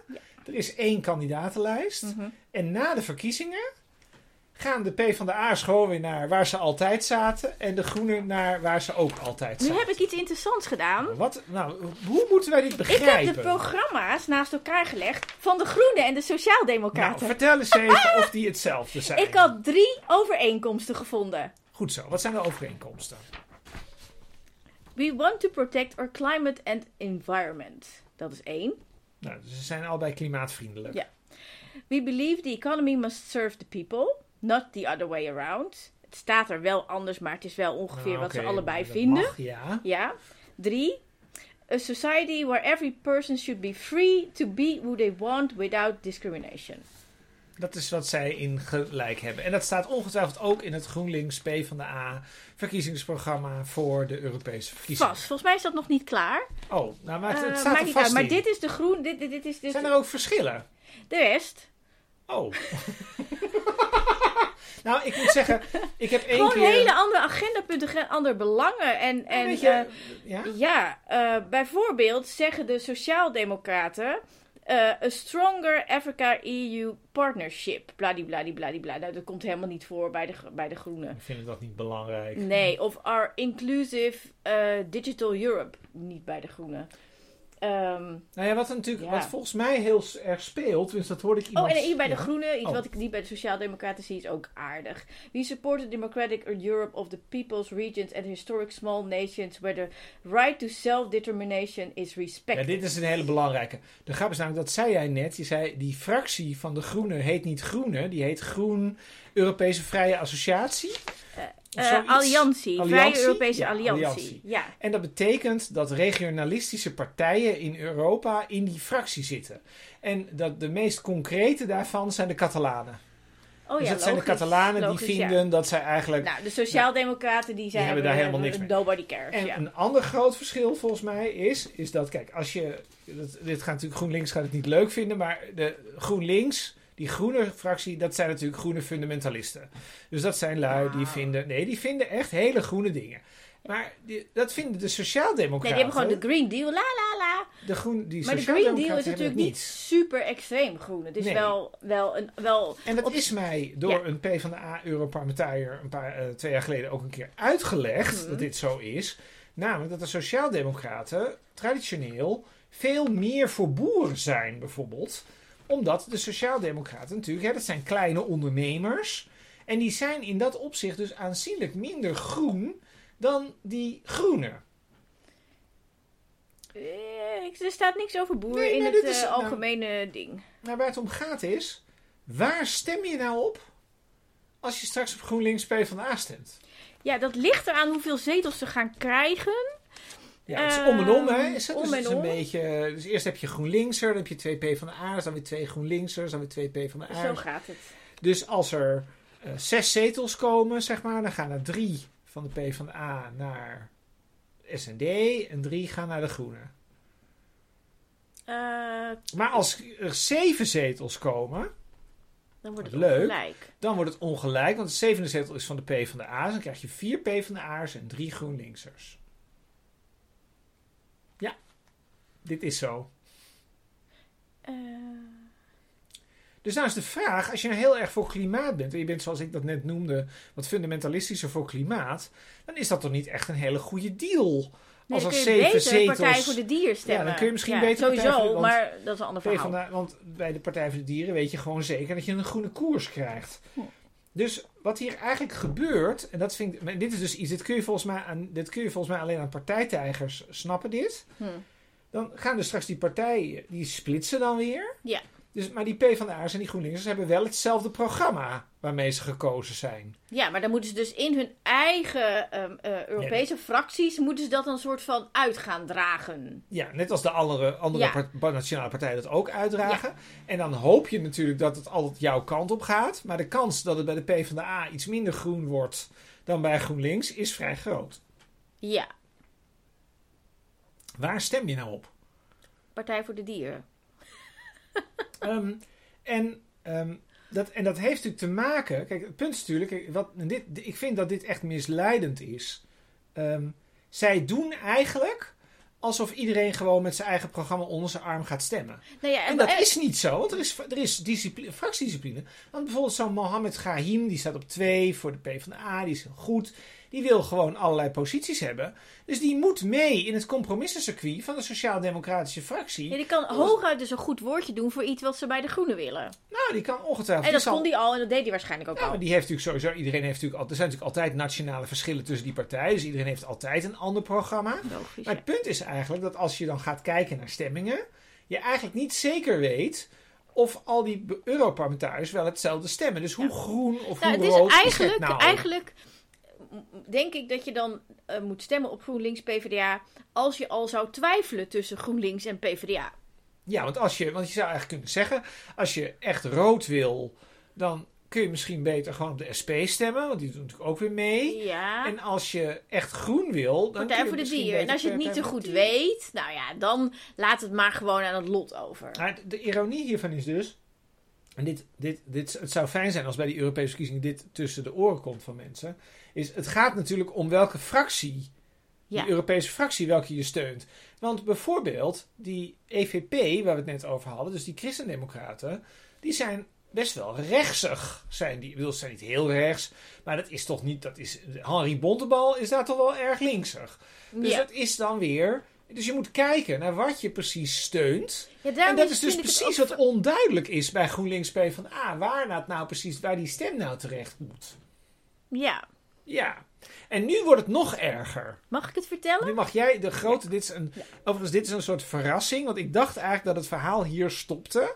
S2: Er is één kandidatenlijst.
S1: Mhm.
S2: En na de verkiezingen gaan de PvdA's gewoon weer naar waar ze altijd zaten. En de Groenen naar waar ze ook altijd
S1: Nu
S2: zaten.
S1: heb ik iets interessants gedaan.
S2: Wat, nou, hoe moeten wij dit
S1: Ik
S2: begrijpen?
S1: heb de programma's naast elkaar gelegd van de Groenen en de
S2: Nou,
S1: Sociaaldemocraten.
S2: vertel eens even of die hetzelfde zijn.
S1: ik had drie overeenkomsten gevonden.
S2: Goed zo, wat zijn de overeenkomsten?
S1: We want to protect our climate and environment. Dat is één.
S2: Nou, ze zijn allebei klimaatvriendelijk.
S1: Ja. We believe the economy must serve the people, not the other way around. Het staat er wel anders, maar het is wel ongeveer
S2: Nou,
S1: wat ze
S2: oké,
S1: allebei
S2: dat
S1: vinden.
S2: mag, ja.
S1: Ja. Drie. A society where every person should be free to be who they want without discrimination.
S2: Dat is wat zij in gelijk hebben. En dat staat ongetwijfeld ook in het GroenLinks P van de A verkiezingsprogramma voor de Europese verkiezingen.
S1: Vast. Volgens mij is dat nog niet klaar.
S2: Oh, nou, maar het, het
S1: Eh,
S2: staat
S1: maakt
S2: er
S1: niet
S2: vast
S1: uit. Maar
S2: in.
S1: dit is de groen. Dit, dit, dit is dus dit,
S2: Zijn er ook verschillen?
S1: de rest.
S2: Oh. (laughs) Nou, ik moet zeggen, ik heb één
S1: Gewoon
S2: keer... Nou,
S1: hele andere agendapunten, ge- andere belangen. En, en eh,
S2: Weet je, ja?
S1: Ja, eh, bijvoorbeeld zeggen de Sociaaldemocraten. eh a stronger Africa-EU partnership. Bladibladibladibla. Nou, dat komt helemaal niet voor bij de, gro- bij de Groenen.
S2: Ik vind dat niet belangrijk.
S1: Nee, of our inclusive eh, digital Europe. Niet bij de Groenen. Ehm,
S2: Nou ja, wat, er natuurlijk,
S1: Ja.
S2: wat volgens mij heel s- erg speelt, dus dat hoorde ik iemand...
S1: oh, en hier bij de
S2: ja.
S1: Groenen, iets
S2: Oh.
S1: wat ik niet bij de Sociaaldemocraten zie, is ook aardig. We support the democratic Europe of the peoples, regions and historic small nations where the right to self-determination is
S2: Ja,
S1: respected.
S2: dit is een hele belangrijke. De grap is namelijk, dat zei jij net. Je zei, die fractie van de Groenen heet niet Groene. Die heet Groen Europese Vrije Associatie. Of
S1: Eh,
S2: zoiets.
S1: alliantie, Vrije
S2: Alliantie?
S1: Europese
S2: Ja,
S1: alliantie.
S2: alliantie.
S1: Ja.
S2: En dat betekent dat regionalistische partijen in Europa in die fractie zitten. En dat de meest concrete daarvan zijn de Catalanen.
S1: Oh,
S2: dus
S1: ja,
S2: dat zijn de
S1: logisch,
S2: Catalanen
S1: logisch,
S2: die
S1: ja.
S2: vinden dat zij eigenlijk...
S1: Nou, de Sociaaldemocraten die zijn eh,
S2: hebben daar helemaal niks mee.
S1: Nobody cares.
S2: En
S1: ja.
S2: een ander groot verschil volgens mij is, is dat, kijk, als je, dat, dit gaat natuurlijk GroenLinks gaat het niet leuk vinden, maar de GroenLinks, die groene fractie, dat zijn natuurlijk groene fundamentalisten. Dus dat zijn lui die
S1: Ah.
S2: vinden, nee, die vinden echt hele groene dingen. Maar die- dat vinden de
S1: Nee,
S2: sociaaldemocraten.
S1: die hebben gewoon de Green Deal, la la la.
S2: de groen, die
S1: Maar de Green
S2: sociaaldemocraten
S1: Deal is
S2: hebben
S1: natuurlijk
S2: het
S1: niet super extreem groen. Het is
S2: Nee.
S1: wel, wel een... Wel,
S2: En dat
S1: op-
S2: is mij door
S1: Ja.
S2: een PvdA-Europarlementariër een paar, eh, twee jaar geleden ook een keer uitgelegd
S1: Mhm.
S2: dat dit zo is. Namelijk dat de Sociaaldemocraten traditioneel veel meer voor boeren zijn, bijvoorbeeld. Omdat de Sociaaldemocraten natuurlijk, hè, dat zijn kleine ondernemers. En die zijn in dat opzicht dus aanzienlijk minder groen dan die groenen.
S1: eh, ik- er staat niks over boeren
S2: Nee,
S1: in
S2: maar
S1: het
S2: dit is-
S1: eh,
S2: nou-
S1: algemene ding.
S2: Maar Nou, waar het om gaat is, waar stem je nou op als je straks op GroenLinks PvdA stemt?
S1: Ja, dat ligt eraan hoeveel zetels ze gaan krijgen.
S2: Ja, het is
S1: Ehm,
S2: om en om, hè? Is het,
S1: om
S2: dus het
S1: en
S2: is een
S1: om.
S2: beetje... Dus eerst heb je GroenLinkser, dan heb je twee P van de A, dan weer twee GroenLinksers, dan weer twee P van de
S1: Zo
S2: A.
S1: gaat het.
S2: Dus als er eh, zes zetels komen, zeg maar, dan gaan er drie van de P van de A naar SND en drie gaan naar de Groenen.
S1: Eh,
S2: Maar als er zeven zetels komen,
S1: dan wordt het
S2: Leuk.
S1: ongelijk.
S2: dan wordt het ongelijk, want de zevende zetel is van de P van de A's. Dan krijg je vier P van de A's en drie GroenLinksers. Ja, dit is zo.
S1: Eh,
S2: Dus nou is de vraag, als je nou heel erg voor klimaat bent, en je bent zoals ik dat net noemde, wat fundamentalistischer voor klimaat, dan is dat toch niet echt een hele goede deal.
S1: nee,
S2: als
S1: dan
S2: er
S1: kun je
S2: zeven
S1: beter
S2: zetels.
S1: Partij voor de Dier stemmen.
S2: dan kun je misschien beter Partij
S1: Sowieso,
S2: voor de- want
S1: maar dat is een ander verhaal.
S2: PvdA want bij de Partij voor de Dieren weet je gewoon zeker dat je een groene koers krijgt.
S1: Hm.
S2: Dus wat hier eigenlijk gebeurt, en dat vind ik, maar dit is dus iets, dit kun je volgens mij, aan, dit kun je volgens mij alleen aan partijtijgers snappen dit.
S1: Hm.
S2: Dan gaan dus straks die partijen, die splitsen dan weer.
S1: Ja.
S2: Dus, maar die PvdA's en die GroenLinksers hebben wel hetzelfde programma waarmee ze gekozen zijn.
S1: Ja, maar dan moeten ze dus in hun eigen ehm, eh, Europese fracties... moeten ze dat dan soort van uit gaan dragen.
S2: Ja, net als de andere, andere
S1: Ja.
S2: part- pa- nationale partijen dat ook uitdragen. En dan hoop je natuurlijk dat het altijd jouw kant op gaat. Maar de kans dat het bij de PvdA iets minder groen wordt dan bij GroenLinks is vrij groot.
S1: Ja,
S2: Waar stem je nou op?
S1: Partij voor de Dieren.
S2: Ehm, en, ehm, dat, en dat heeft natuurlijk te maken. Kijk, het punt is natuurlijk. kijk, Wat, en dit, ik vind dat dit echt misleidend is. Ehm, zij doen eigenlijk alsof iedereen gewoon met zijn eigen programma onder zijn arm gaat stemmen.
S1: Nou ja,
S2: En dat is niet zo, want er is, er is discipline, fractiediscipline. Want bijvoorbeeld zo'n Mohammed Gahim, die staat op 2 voor de PvdA, die is heel goed. Die wil gewoon allerlei posities hebben. Dus die moet mee in het compromissencircuit van de Sociaal-Democratische fractie.
S1: Ja, die kan hooguit dus een goed woordje doen voor iets wat ze bij de Groenen willen.
S2: Nou, die kan ongetwijfeld...
S1: En dat
S2: zal-
S1: kon die al en dat deed hij waarschijnlijk ook
S2: Ja,
S1: al.
S2: maar die heeft natuurlijk sowieso... Iedereen heeft natuurlijk, al- er zijn natuurlijk altijd nationale verschillen tussen die partijen. Dus iedereen heeft altijd een ander programma.
S1: Logisch.
S2: Maar
S1: ja.
S2: het punt is eigenlijk dat als je dan gaat kijken naar stemmingen, je eigenlijk niet zeker weet of al die be- Europarlementariërs wel hetzelfde stemmen. Dus hoe
S1: Ja.
S2: groen of
S1: Nou,
S2: hoe
S1: het is
S2: rood
S1: eigenlijk,
S2: het nou?
S1: eigenlijk mm, denk ik dat je dan eh, moet stemmen op GroenLinks PvdA als je al zou twijfelen tussen GroenLinks en PvdA.
S2: Ja, want, als je, want je zou eigenlijk kunnen zeggen, als je echt rood wil, dan kun je misschien beter gewoon op de SP stemmen, want die doen natuurlijk ook weer mee.
S1: Ja.
S2: En als je echt groen wil, dan kun
S1: Partij
S2: je
S1: voor de
S2: misschien
S1: Dieren. En
S2: beter
S1: als je het niet
S2: Partij
S1: zo
S2: voor
S1: goed
S2: de Dieren.
S1: weet, nou ja, dan laat het maar gewoon aan het lot over.
S2: Maar de ironie hiervan is dus en dit, dit, dit, het zou fijn zijn als bij die Europese verkiezingen dit tussen de oren komt van mensen. Is het gaat natuurlijk om welke fractie
S1: Ja.
S2: de Europese fractie welke je steunt. Want bijvoorbeeld die EVP, waar we het net over hadden, dus die christendemocraten, die zijn best wel rechtsig. Zijn die, ik bedoel, ze zijn niet heel rechts, maar dat is toch niet, dat is, Henri Bontebal is daar toch wel erg linksig. Dus
S1: ja.
S2: dat is dan weer, dus je moet kijken naar wat je precies steunt.
S1: Ja, daarom
S2: en dat is dus
S1: vind ik het
S2: precies
S1: ook-
S2: wat onduidelijk is bij GroenLinks P van A, waar nou, nou precies, waar die stem nou terecht moet.
S1: Ja,
S2: Ja, en nu wordt het nog erger.
S1: mag ik het vertellen?
S2: Nu mag jij de grote. Dit is een,
S1: Ja.
S2: Overigens, dit is een soort verrassing. Want ik dacht eigenlijk dat het verhaal hier stopte.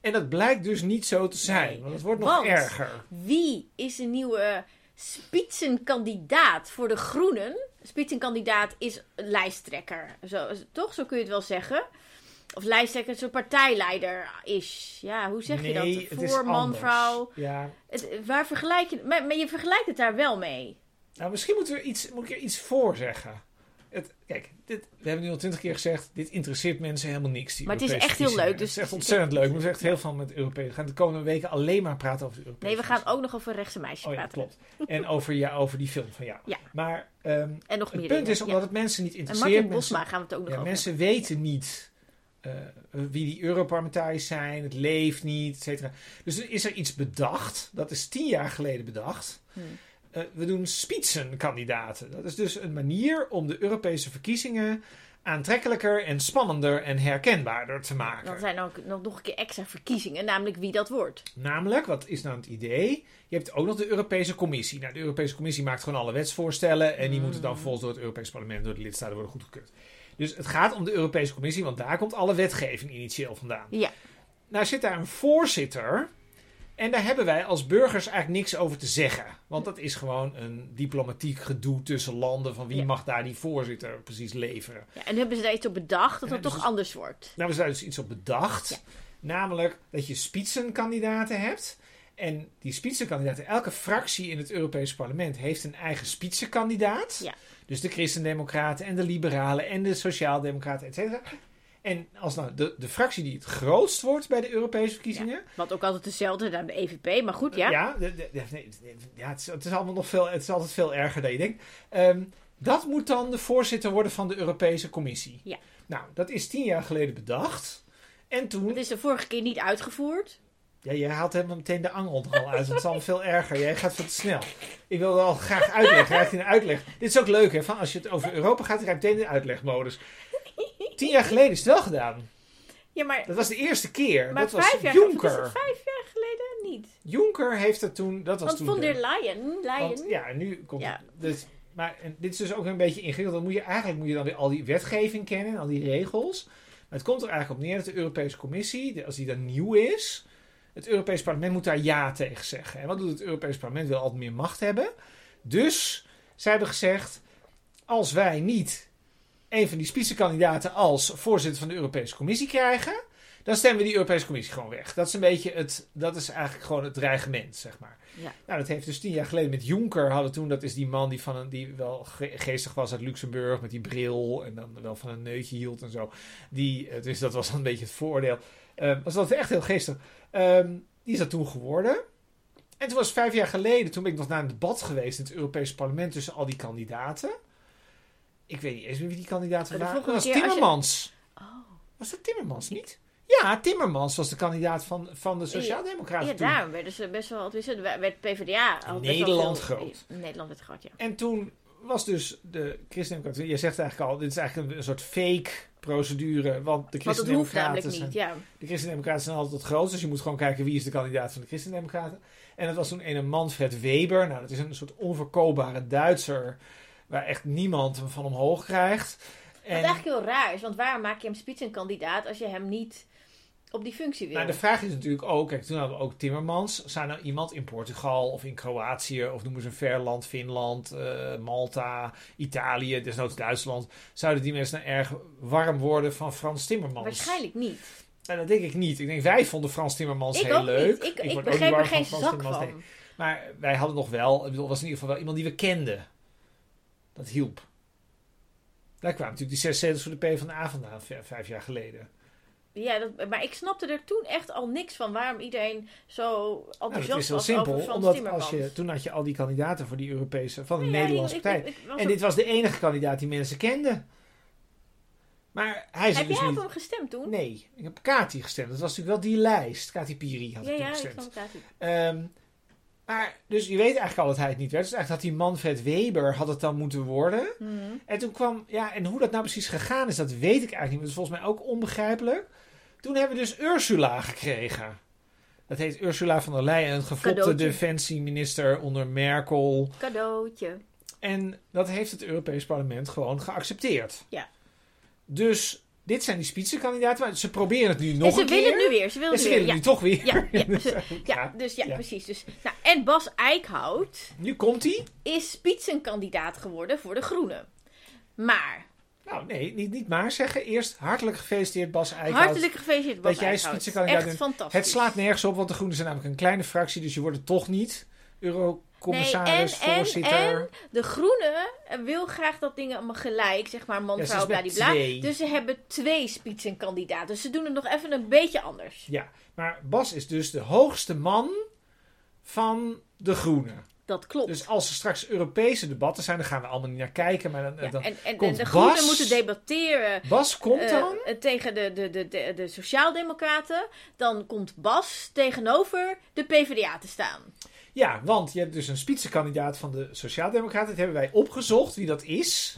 S2: En dat blijkt dus niet zo te zijn.
S1: Nee.
S2: want het wordt nog
S1: Want-
S2: erger.
S1: Wie is de nieuwe spitsenkandidaat voor de Groenen? Spitsenkandidaat is een lijsttrekker. Zo, toch? Zo kun je het wel zeggen. Of lijsttrekker, zo'n partijleider is. Ja, hoe zeg
S2: Nee,
S1: je
S2: het
S1: dat?
S2: is
S1: Voor, man,
S2: anders.
S1: vrouw.
S2: Ja.
S1: Het, waar vergelijk je... Maar, maar je vergelijkt het daar wel mee.
S2: Nou, misschien moeten we iets, moet ik er iets voor zeggen. Het, kijk, dit, we hebben nu al twintig keer gezegd. Dit interesseert mensen helemaal niks. Die
S1: Maar het is
S2: Europese
S1: echt heel leuk,
S2: verkiezingen.
S1: dus-
S2: Het is echt ontzettend leuk. We zijn echt heel veel met Europees. We gaan de komende weken alleen maar praten over de Europese
S1: Nee, we gaan
S2: verkiezingen.
S1: ook nog over rechtse meisjes
S2: Oh ja,
S1: praten.
S2: klopt. En over, ja, over die film van jou.
S1: Ja.
S2: Maar ehm,
S1: En nog
S2: het
S1: meer
S2: punt
S1: dingen.
S2: is omdat het mensen niet
S1: Ja. En
S2: interesseert.
S1: Martin
S2: mensen-
S1: Bosma gaan we het ook nog
S2: Ja,
S1: over
S2: mensen weten niet eh, wie die Europarlementariërs zijn. Het leeft niet, et cetera. Dus er is er iets bedacht. Dat is tien jaar geleden bedacht.
S1: Hmm.
S2: Eh, we doen spitsenkandidaten. Dat is dus een manier om de Europese verkiezingen aantrekkelijker en spannender en herkenbaarder te maken.
S1: Dan zijn er ook nog nog een keer extra verkiezingen, namelijk wie dat wordt.
S2: Namelijk, wat is nou het idee? Je hebt ook nog de Europese Commissie. Nou, de Europese Commissie maakt gewoon alle wetsvoorstellen. En die
S1: Mm.
S2: moeten dan volgens door het Europees Parlement, door de lidstaten worden goedgekeurd. Dus het gaat om de Europese Commissie, want daar komt alle wetgeving initieel vandaan.
S1: Ja.
S2: Nou zit daar een voorzitter. En daar hebben wij als burgers eigenlijk niks over te zeggen. Want dat is gewoon een diplomatiek gedoe tussen landen. Van wie
S1: Ja.
S2: mag daar die voorzitter precies leveren?
S1: ja. En hebben ze daar iets op bedacht dat
S2: Ja,
S1: dat
S2: dus
S1: toch
S2: het-
S1: anders wordt?
S2: Nou, we zijn dus iets op bedacht.
S1: Ja.
S2: Namelijk dat je spitsenkandidaten hebt. En die spitsenkandidaten, elke fractie in het Europese parlement heeft een eigen spitsenkandidaat.
S1: Ja.
S2: Dus de Christendemocraten en de Liberalen en de Sociaaldemocraten, et cetera. En als nou de, de fractie die het grootst wordt bij de Europese verkiezingen.
S1: Wat ook altijd dezelfde dan de EVP, maar goed, ja.
S2: de- de- de- nee, de- ja het, is, het is allemaal nog veel, het is altijd veel erger dan je denkt. Ehm, dat moet dan de voorzitter worden van de Europese Commissie.
S1: Ja.
S2: Nou, dat is tien jaar geleden bedacht. En toen
S1: Dat is de vorige keer niet uitgevoerd.
S2: Ja, jij haalt helemaal meteen de angel er al uit. want Het is allemaal veel erger. Jij gaat veel te snel. Ik wil al graag uitleggen. Raakt in de uitleg. Dit is ook leuk, hè? Van als je het over Europa gaat, raak meteen in de uitlegmodus. Tien jaar geleden is het wel gedaan.
S1: Ja, maar,
S2: Dat was de eerste keer.
S1: maar
S2: dat was
S1: vijf jaar
S2: Juncker.
S1: Is het vijf jaar geleden niet.
S2: Juncker heeft het toen. Dat was
S1: Want
S2: toen.
S1: von der
S2: de-
S1: Leyen,
S2: want,
S1: Leyen
S2: ja, en nu komt.
S1: Ja.
S2: het- Dus, maar en dit is dus ook een beetje ingewikkeld. Dan moet je eigenlijk moet je dan weer al die wetgeving kennen, en al die regels. Maar het komt er eigenlijk op neer dat de Europese Commissie, de- als die dan nieuw is, het Europees Parlement moet daar ja tegen zeggen. En wat doet het Europees Parlement? Wil altijd meer macht hebben. Dus zij hebben gezegd: als wij niet een van die spitsenkandidaten als voorzitter van de Europese Commissie krijgen, dan stemmen we die Europese Commissie gewoon weg. Dat is een beetje het, dat is eigenlijk gewoon het dreigement, zeg maar.
S1: Ja.
S2: Nou, dat heeft dus tien jaar geleden met Juncker hadden toen, dat is die man die, van een, die wel ge- geestig was uit Luxemburg met die bril en dan wel van een neutje hield en zo. Die, eh, dus dat was dan een beetje het voordeel. Eh, was dat echt heel geestig. Ehm, die is dat toen geworden. En toen was vijf jaar geleden, toen ben ik nog naar een debat geweest in het Europese parlement tussen al die kandidaten. Ik weet niet eens meer wie die kandidaten
S1: De
S2: waren. Dat
S1: volgende
S2: was
S1: keer als je-
S2: Timmermans.
S1: Oh,
S2: Was dat Timmermans niet? Ja, Timmermans was de kandidaat van, van de Sociaaldemocraten
S1: ja,
S2: toen.
S1: daarom werden ze best wel... Tenminste, werd PvdA... al best wel
S2: Nederland
S1: veel-
S2: groot.
S1: Nederland werd groot, ja.
S2: En toen was dus de Christendemocraten... Je zegt eigenlijk al, dit is eigenlijk een, een soort fake procedure. Want de
S1: Want het hoeft
S2: Christendemocraten
S1: namelijk
S2: zijn...
S1: niet, ja.
S2: De Christendemocraten zijn altijd het grootste. Dus je moet gewoon kijken wie is de kandidaat van de Christendemocraten. En dat was toen een Manfred Weber. Nou, dat is een soort onverkoopbare Duitser. Waar echt niemand hem van omhoog krijgt.
S1: Wat
S2: En
S1: eigenlijk heel raar is, want waarom maak je hem spitsenkandidaat als je hem niet op die functie wil?
S2: nou, de vraag is natuurlijk ook... Kijk, toen hadden we ook Timmermans. Zou nou iemand in Portugal of in Kroatië... of noemen ze een ver land, Finland, eh, Malta, Italië, desnoods Duitsland... zouden die mensen nou erg warm worden van Frans Timmermans?
S1: Waarschijnlijk niet.
S2: Nou, dat denk ik niet. Ik denk, wij vonden Frans Timmermans
S1: Ik
S2: heel
S1: ook
S2: leuk.
S1: niet. Ik, ik,
S2: word ook niet
S1: begreep er
S2: warm
S1: geen
S2: Frans
S1: zak
S2: Timmermans. Nee.
S1: van.
S2: Maar wij hadden nog wel, ik bedoel, het was in ieder geval wel iemand die we kenden. Dat hielp. Daar kwamen natuurlijk die zes zetels voor de PvdA vandaan, v- vijf jaar geleden.
S1: ja, dat, maar ik snapte er toen echt al niks van waarom iedereen zo
S2: Nou,
S1: enthousiast
S2: dat is heel
S1: was over
S2: simpel,
S1: Frans
S2: omdat
S1: Timmermans.
S2: als je, toen had je al die kandidaten voor die Europese, van de
S1: Ja,
S2: Nederlandse
S1: ik- ik-
S2: partij.
S1: ik was
S2: en
S1: ook-
S2: dit was de enige kandidaat die mensen kenden. Maar hij is er
S1: Heb
S2: dus
S1: jij op
S2: niet.
S1: hem gestemd toen?
S2: Nee, ik heb Kati gestemd. Dat was natuurlijk wel die lijst. Kati Piri had
S1: ja,
S2: ik toen
S1: ja, ik
S2: gestemd.
S1: snap het eigenlijk.
S2: Ehm, maar, dus je weet eigenlijk al dat hij het niet werd. Dus eigenlijk had die Manfred Weber had het dan moeten worden.
S1: Mhm.
S2: En toen kwam, ja, en hoe dat nou precies gegaan is, dat weet ik eigenlijk niet. Dat is volgens mij ook onbegrijpelijk. Toen hebben we dus Ursula gekregen. Dat heet Ursula van der Leyen, een geflopte
S1: Cadeautje.
S2: defensieminister onder Merkel.
S1: Cadeautje.
S2: En dat heeft het Europees Parlement gewoon geaccepteerd.
S1: Ja.
S2: Dus dit zijn die spitsenkandidaten, maar ze proberen het nu nog
S1: en ze
S2: een keer.
S1: willen het nu weer. Ze willen
S2: en
S1: het
S2: ze
S1: weer. Ja,
S2: willen nu toch weer.
S1: ja, ja, ze- ja,
S2: Ja.
S1: dus ja,
S2: Ja.
S1: precies. Dus, nou, en Bas Eickhout
S2: (laughs) Nu komt hij.
S1: is spitsenkandidaat geworden voor de Groenen. Maar,
S2: Nou, nee, niet, niet maar zeggen. Eerst hartelijk gefeliciteerd Bas Eickhout.
S1: hartelijk gefeliciteerd Bas
S2: dat jij
S1: Eickhout.
S2: spitsenkandidaat
S1: Echt
S2: bent.
S1: fantastisch.
S2: Het slaat nergens op, want de Groenen zijn namelijk een kleine fractie, dus je wordt het toch niet. Eurocommissaris,
S1: Nee, en- en-
S2: voorzitter.
S1: en- De Groene wil graag dat dingen allemaal gelijk, zeg maar, man,
S2: Ja, ze
S1: vrouw,
S2: is met
S1: bladibla.
S2: twee.
S1: Dus ze hebben twee spitsenkandidaten. Dus ze doen het nog even een beetje anders.
S2: Ja, maar Bas is dus de hoogste man van de Groenen.
S1: Dat klopt.
S2: Dus als er straks Europese debatten zijn, dan gaan we allemaal niet naar kijken. Maar dan,
S1: Ja,
S2: eh, dan-
S1: en, en, en
S2: komt
S1: de Groenen
S2: Bas-
S1: moeten debatteren
S2: Bas komt
S1: eh,
S2: dan?
S1: eh, tegen de, de, de, de, de Sociaaldemocraten. Dan komt Bas tegenover de PvdA te staan.
S2: Ja, want je hebt dus een spitsenkandidaat van de Sociaaldemocraten. Dat hebben wij opgezocht, wie dat is.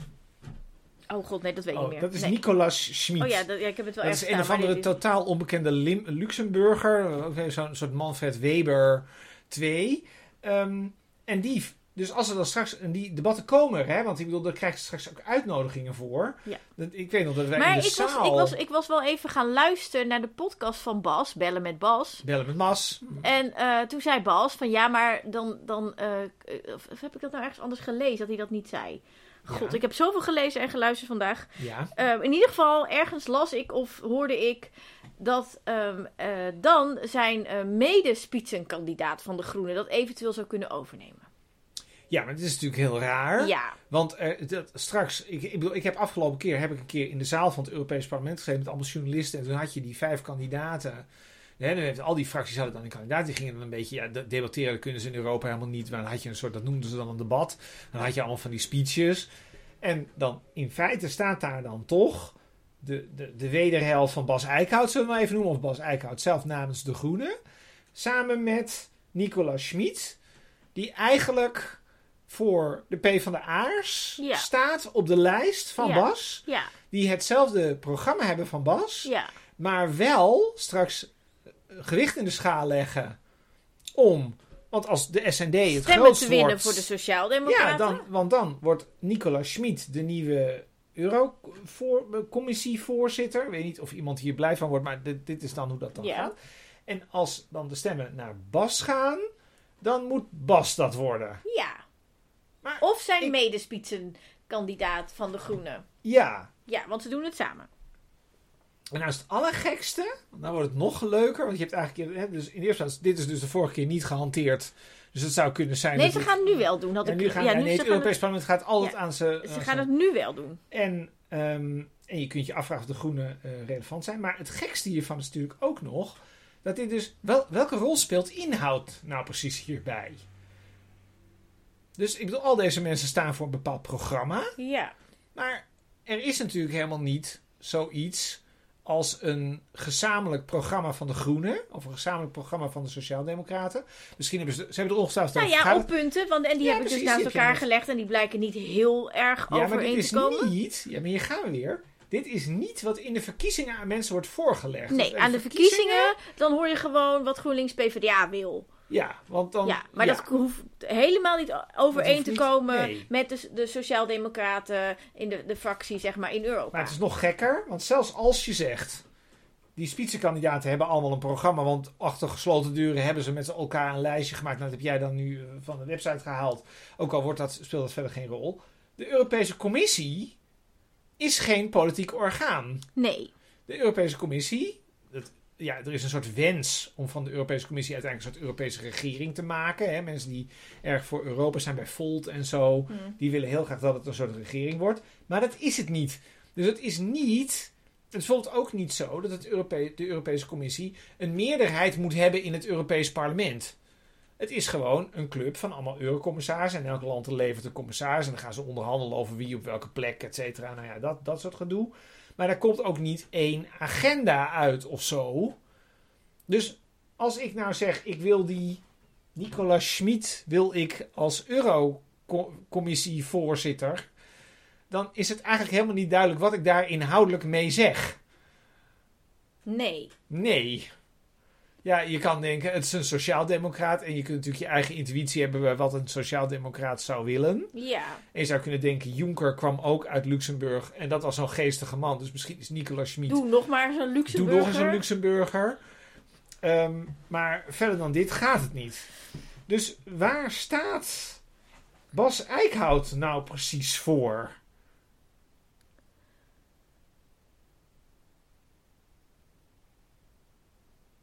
S1: Oh god, nee, dat weet ik niet
S2: Oh,
S1: meer.
S2: dat is
S1: Nee.
S2: Nicolas Schmid.
S1: Oh ja, dat, ja, ik heb het wel
S2: Dat
S1: ergens
S2: is een of
S1: staan, maar
S2: andere
S1: dit is-
S2: totaal onbekende Lim- Luxemburger. Ook weer Zo'n soort Manfred Weber 2. Ehm, en die, dus als er dan straks en die debatten komen, hè, want ik bedoel, daar krijg je straks ook uitnodigingen voor.
S1: Ja.
S2: Dat, ik weet nog dat wij
S1: Maar
S2: in
S1: ik
S2: de
S1: was,
S2: zaal
S1: ik, was, ik was wel even gaan luisteren naar de podcast van Bas, Bellen met Bas.
S2: bellen met Mas.
S1: En eh, toen zei Bas van ja, maar dan. dan eh, eh, of, of heb ik dat nou ergens anders gelezen dat hij dat niet zei? God,
S2: Ja.
S1: ik heb zoveel gelezen en geluisterd vandaag.
S2: Ja.
S1: Ehm, in ieder geval, ergens las ik of hoorde ik dat ehm, eh, dan zijn eh medespitsenkandidaat van de Groenen dat eventueel zou kunnen overnemen.
S2: ja, maar dit is natuurlijk heel raar.
S1: Ja,
S2: Want eh, dat, straks, ik, ik bedoel, ik heb afgelopen keer heb ik een keer in de zaal van het Europees Parlement gezeten met allemaal journalisten. En toen had je die vijf kandidaten. Nee, dan heeft, al die fracties hadden dan een kandidaat. Die gingen dan een beetje, ja, de- debatteren dat kunnen ze in Europa helemaal niet. Maar dan had je een soort, dat noemden ze dan een debat. Dan had je allemaal van die speeches. En dan in feite staat daar dan toch de, de, de wederhelft van Bas Eickhout, zullen we maar even noemen. Of Bas Eickhout zelf namens de Groenen. Samen met Nicolas Schmid. Die eigenlijk voor de P van de Aars
S1: Ja.
S2: staat op de lijst van
S1: Ja.
S2: Bas.
S1: ja,
S2: Die hetzelfde programma hebben van Bas.
S1: ja.
S2: Maar wel straks gewicht in de schaal leggen. Om, want als de SND
S1: Stemmen
S2: het grootst
S1: te winnen
S2: wordt,
S1: voor de
S2: ja,
S1: Sociaaldemocraten.
S2: dan, want dan wordt Nicolas Schmid de nieuwe Eurocommissie-voorzitter. Ik weet niet of iemand hier blij van wordt, maar dit, dit is dan hoe dat dan
S1: Ja.
S2: gaat. En als dan de stemmen naar Bas gaan, dan moet Bas dat worden.
S1: Ja.
S2: Maar
S1: of zijn
S2: ik-
S1: medespitsenkandidaat van de Groenen.
S2: Ja.
S1: Ja, want ze doen het samen.
S2: En nou is het allergekste, want dan wordt het nog leuker, want je hebt eigenlijk, hè, dus in de eerste plaats, dit is dus de vorige keer niet gehanteerd, dus het zou kunnen zijn
S1: Nee,
S2: dat
S1: ze
S2: dit-
S1: gaan het nu wel doen. Had
S2: Ja,
S1: ik-
S2: nu gaan,
S1: ja,
S2: ja, nee,
S1: ze
S2: het
S1: gaan
S2: Europees Parlement gaat altijd
S1: Ja,
S2: aan zijn...
S1: het- ze gaan het nu wel doen.
S2: En, ehm, en je kunt je afvragen of de groenen eh, relevant zijn. Maar het gekste hiervan is natuurlijk ook nog dat dit dus. Wel, welke rol speelt inhoud nou precies hierbij? Dus ik bedoel, al deze mensen staan voor een bepaald programma.
S1: Ja.
S2: Maar er is natuurlijk helemaal niet zoiets als een gezamenlijk programma van de Groenen. Of een gezamenlijk programma van de Sociaaldemocraten. Misschien hebben ze, ze hebben er ongetwijfeld
S1: Nou
S2: over
S1: ja,
S2: vergaderd.
S1: op punten. Want, en die
S2: Ja,
S1: hebben dus
S2: precies,
S1: naast
S2: die heb je
S1: elkaar
S2: nog.
S1: gelegd. En die blijken niet heel erg
S2: Ja, maar dit
S1: overeen
S2: is
S1: te komen.
S2: niet. Ja, maar hier gaan we weer. Dit is niet wat in de verkiezingen aan mensen wordt voorgelegd.
S1: Nee,
S2: Want
S1: aan de verkiezingen dan hoor je gewoon wat GroenLinks PvdA wil.
S2: Oh, Ja, want dan.
S1: ja, maar dat hoeft helemaal niet
S2: Dat
S1: overeen
S2: hoeft
S1: te
S2: niet,
S1: komen
S2: nee.
S1: met de, de Sociaaldemocraten in de, de fractie, zeg maar, in Europa.
S2: Maar het is nog gekker, want zelfs als je zegt. Die spitsenkandidaten hebben allemaal een programma, want achter gesloten deuren hebben ze met elkaar een lijstje gemaakt. Nou, dat heb jij dan nu eh, van de website gehaald. Ook al wordt dat, speelt dat verder geen rol. De Europese Commissie is geen politiek orgaan.
S1: Nee.
S2: De Europese Commissie. Dat, ja, er is een soort wens om van de Europese Commissie uiteindelijk een soort Europese regering te maken. Hè? Mensen die erg voor Europa zijn bij Volt en zo.
S1: Hm.
S2: Die willen heel graag dat het een soort regering wordt. Maar dat is het niet. Dus het is niet Het is bijvoorbeeld ook niet zo dat het Europe- de Europese Commissie een meerderheid moet hebben in het Europees Parlement. Het is gewoon een club van allemaal eurocommissarissen. En elk land levert een commissaris. En dan gaan ze onderhandelen over wie op welke plek, et cetera. Nou ja, dat, dat soort gedoe. Maar daar komt ook niet één agenda uit of zo. Dus als ik nou zeg, ik wil die Nicolas Schmid wil ik als Eurocommissie-voorzitter. Dan is het eigenlijk helemaal niet duidelijk wat ik daar inhoudelijk mee zeg.
S1: Nee.
S2: Nee. Ja, je kan denken, het is een sociaaldemocraat. En je kunt natuurlijk je eigen intuïtie hebben bij wat een sociaaldemocraat zou willen.
S1: Ja.
S2: En je zou kunnen denken, Juncker kwam ook uit Luxemburg. En dat was zo'n geestige man. Dus misschien is Nicolas Schmid
S1: Doe nog maar zo'n
S2: Doe
S1: Luxemburger.
S2: nog eens een Luxemburger. Ehm, maar verder dan dit gaat het niet. Dus waar staat Bas Eickhout nou precies voor? (laughs)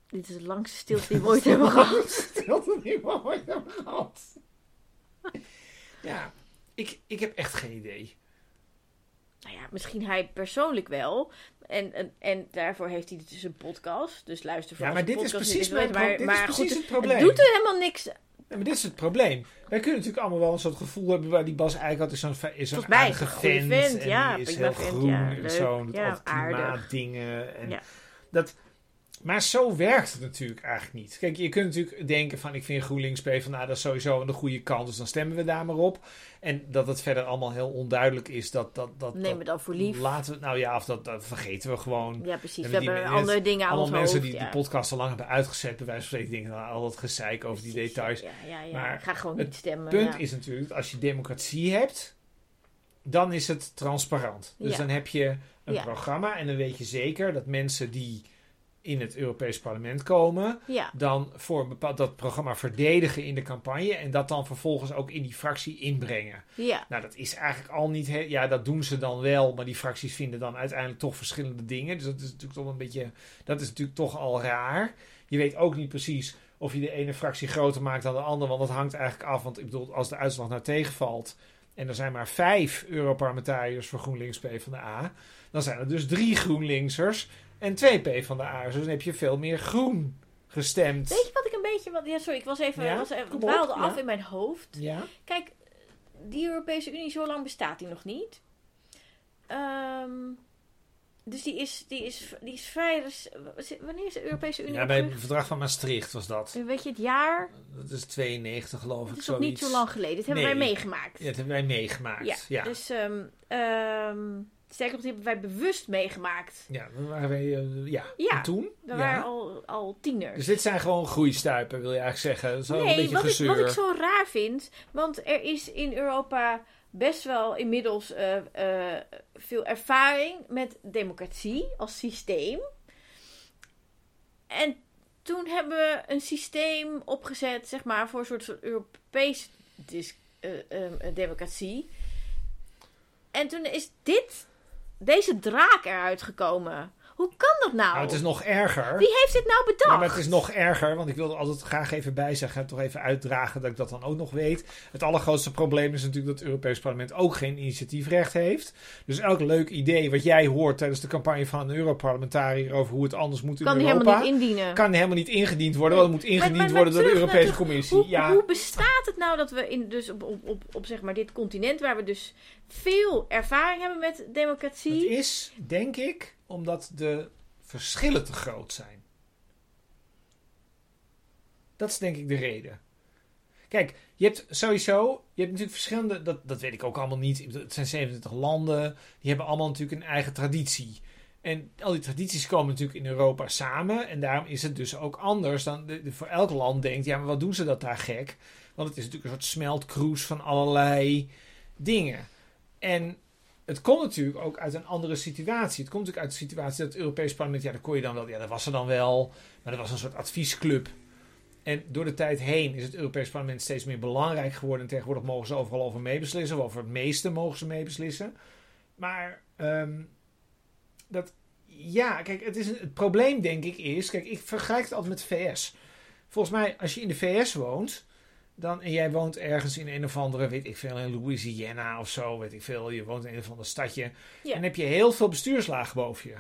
S1: Dit is de langste stilte die we ooit hebben gehad.
S2: Stelt het niet maar ooit hebben gehad. Ja, ik, ik heb echt geen idee.
S1: Nou ja, misschien hij persoonlijk wel. En, en, en daarvoor heeft hij dus een podcast. Dus luister voor
S2: Ja, maar
S1: onze
S2: dit is
S1: podcast,
S2: precies,
S1: dit
S2: mijn
S1: is
S2: pro-
S1: maar-
S2: dit is
S1: maar
S2: precies
S1: goed,
S2: het probleem.
S1: Het doet er helemaal niks.
S2: Ja, maar dit is het probleem. Wij kunnen natuurlijk allemaal wel een soort gevoel hebben waar die Bas Eickhout is zo'n, is zo'n
S1: Volgens mij
S2: aardige
S1: een goede
S2: vent.
S1: vent,
S2: en
S1: ja,
S2: die is heel
S1: prima vent,
S2: groen
S1: ja,
S2: en
S1: leuk,
S2: zo. En doet
S1: ja,
S2: al
S1: aardig.
S2: klimaatdingen. En
S1: Ja.
S2: dat, maar zo werkt het natuurlijk eigenlijk niet. Kijk, je kunt natuurlijk denken van ik vind GroenLinks PvdA dat is sowieso aan de goede kant. Dus dan stemmen we daar maar op. En dat het verder allemaal heel onduidelijk is. Dat, dat, dat,
S1: Neem het dan voor lief.
S2: dat laten we, nou ja, of dat, dat vergeten we gewoon.
S1: Ja, precies.
S2: En
S1: We
S2: die
S1: hebben
S2: mensen-
S1: andere dingen aan ons
S2: Allemaal
S1: hoofd.
S2: mensen die
S1: ja.
S2: de podcast al lang hebben uitgezet, bij wijze van spreken, denken nou, al dat gezeik over die
S1: Precies,
S2: details.
S1: Ja, ja, ja.
S2: Maar
S1: ik ga gewoon
S2: het
S1: niet stemmen.
S2: Het punt
S1: ja.
S2: is natuurlijk dat als je democratie hebt, dan is het transparant. Dus
S1: Ja.
S2: dan heb je een
S1: Ja.
S2: programma en dan weet je zeker dat mensen die in het Europees Parlement komen,
S1: Ja,
S2: dan voor een bepaald dat programma verdedigen in de campagne en dat dan vervolgens ook in die fractie inbrengen.
S1: ja.
S2: Nou, dat is eigenlijk al niet. He- ja, dat doen ze dan wel, maar die fracties vinden dan uiteindelijk toch verschillende dingen. Dus dat is natuurlijk toch een beetje. Dat is natuurlijk toch al raar. Je weet ook niet precies of je de ene fractie groter maakt dan de andere, want dat hangt eigenlijk af. Want ik bedoel, als de uitslag nou tegenvalt. En er zijn maar vijf Europarlementariërs voor GroenLinks PvdA. Dan zijn er dus drie GroenLinksers en twee PvdA'ers. Dus dan heb je veel meer groen gestemd.
S1: Weet je wat ik een beetje... Wat, ja, sorry, ik was even...
S2: Ja,
S1: was even
S2: kom op,
S1: dwaalde
S2: ja.
S1: af in mijn hoofd.
S2: Ja?
S1: Kijk, die Europese Unie, zo lang bestaat die nog niet. Ehm, dus die is, die is, die is vrij... dus- wanneer is de Europese Unie
S2: Ja, bij het
S1: opgericht?
S2: verdrag van Maastricht was dat.
S1: Weet je het jaar?
S2: Dat is 92 geloof
S1: Het
S2: ik.
S1: is nog niet
S2: zoiets.
S1: zo lang geleden. Dit hebben
S2: Nee.
S1: wij meegemaakt.
S2: Ja, dat hebben wij meegemaakt. Ja,
S1: Ja,
S2: ja.
S1: dus ehm, ehm, sterker nog, die hebben wij bewust meegemaakt.
S2: dan waren wij, eh, ja.
S1: Ja,
S2: En toen.
S1: We
S2: Ja.
S1: waren al, al tieners.
S2: Dus dit zijn gewoon groeistuipen, wil je eigenlijk zeggen. Zo een
S1: nee,
S2: beetje
S1: wat ik,
S2: gezeur.
S1: wat ik zo raar vind, want er is in Europa best wel inmiddels eh, eh, veel ervaring met democratie als systeem. En toen hebben we een systeem opgezet, zeg maar, voor een soort van Europees dis- eh, eh, eh, democratie. En toen is dit, deze draak eruit gekomen. Hoe kan dat nou?
S2: Nou, het is nog erger.
S1: Wie heeft dit nou bedacht?
S2: Ja, maar het is nog erger, want ik wil er altijd graag even bij zeggen en toch even uitdragen dat ik dat dan ook nog weet. Het allergrootste probleem is natuurlijk dat het Europees Parlement ook geen initiatiefrecht heeft. Dus elk leuk idee wat jij hoort tijdens de campagne van een Europarlementariër over hoe het anders moet in
S1: kan die
S2: Europa,
S1: helemaal niet indienen.
S2: kan helemaal niet ingediend worden, want het moet ingediend
S1: maar- maar
S2: worden door de
S1: terug naar
S2: Europese
S1: terug.
S2: Commissie.
S1: Hoe,
S2: ja.
S1: hoe bestaat het nou dat we in, dus op, op, op, op zeg maar dit continent, waar we dus veel ervaring hebben met
S2: Het
S1: democratie.
S2: is, denk ik, omdat de verschillen te groot zijn. Dat is denk ik de reden. Kijk, je hebt sowieso, je hebt natuurlijk verschillende, dat, dat weet ik ook allemaal niet. Ik bedoel, Het zijn 27 landen, die hebben allemaal natuurlijk een eigen traditie. En al die tradities komen natuurlijk in Europa samen. En daarom is het dus ook anders dan de- de- voor elk land denkt, ja, maar wat doen ze dat daar gek? Want het is natuurlijk een soort smeltkroes van allerlei dingen. En het komt natuurlijk ook uit een andere situatie. Het komt natuurlijk uit de situatie dat het Europees parlement, ja, dat kon je dan wel, ja, dat was er dan wel, maar dat was een soort adviesclub. En door de tijd heen is het Europees parlement steeds meer belangrijk geworden. En tegenwoordig mogen ze overal over meebeslissen, of over het meeste mogen ze meebeslissen. Maar ehm, dat, ja, kijk, het, is een- het probleem denk ik is, kijk, ik vergelijk het altijd met de VS. Volgens mij, als je in de VS woont, dan, en jij woont ergens in een of andere, weet ik veel, in Louisiana of zo, weet ik veel. Je woont in een of ander stadje.
S1: Ja.
S2: En heb je heel veel bestuurslagen boven je.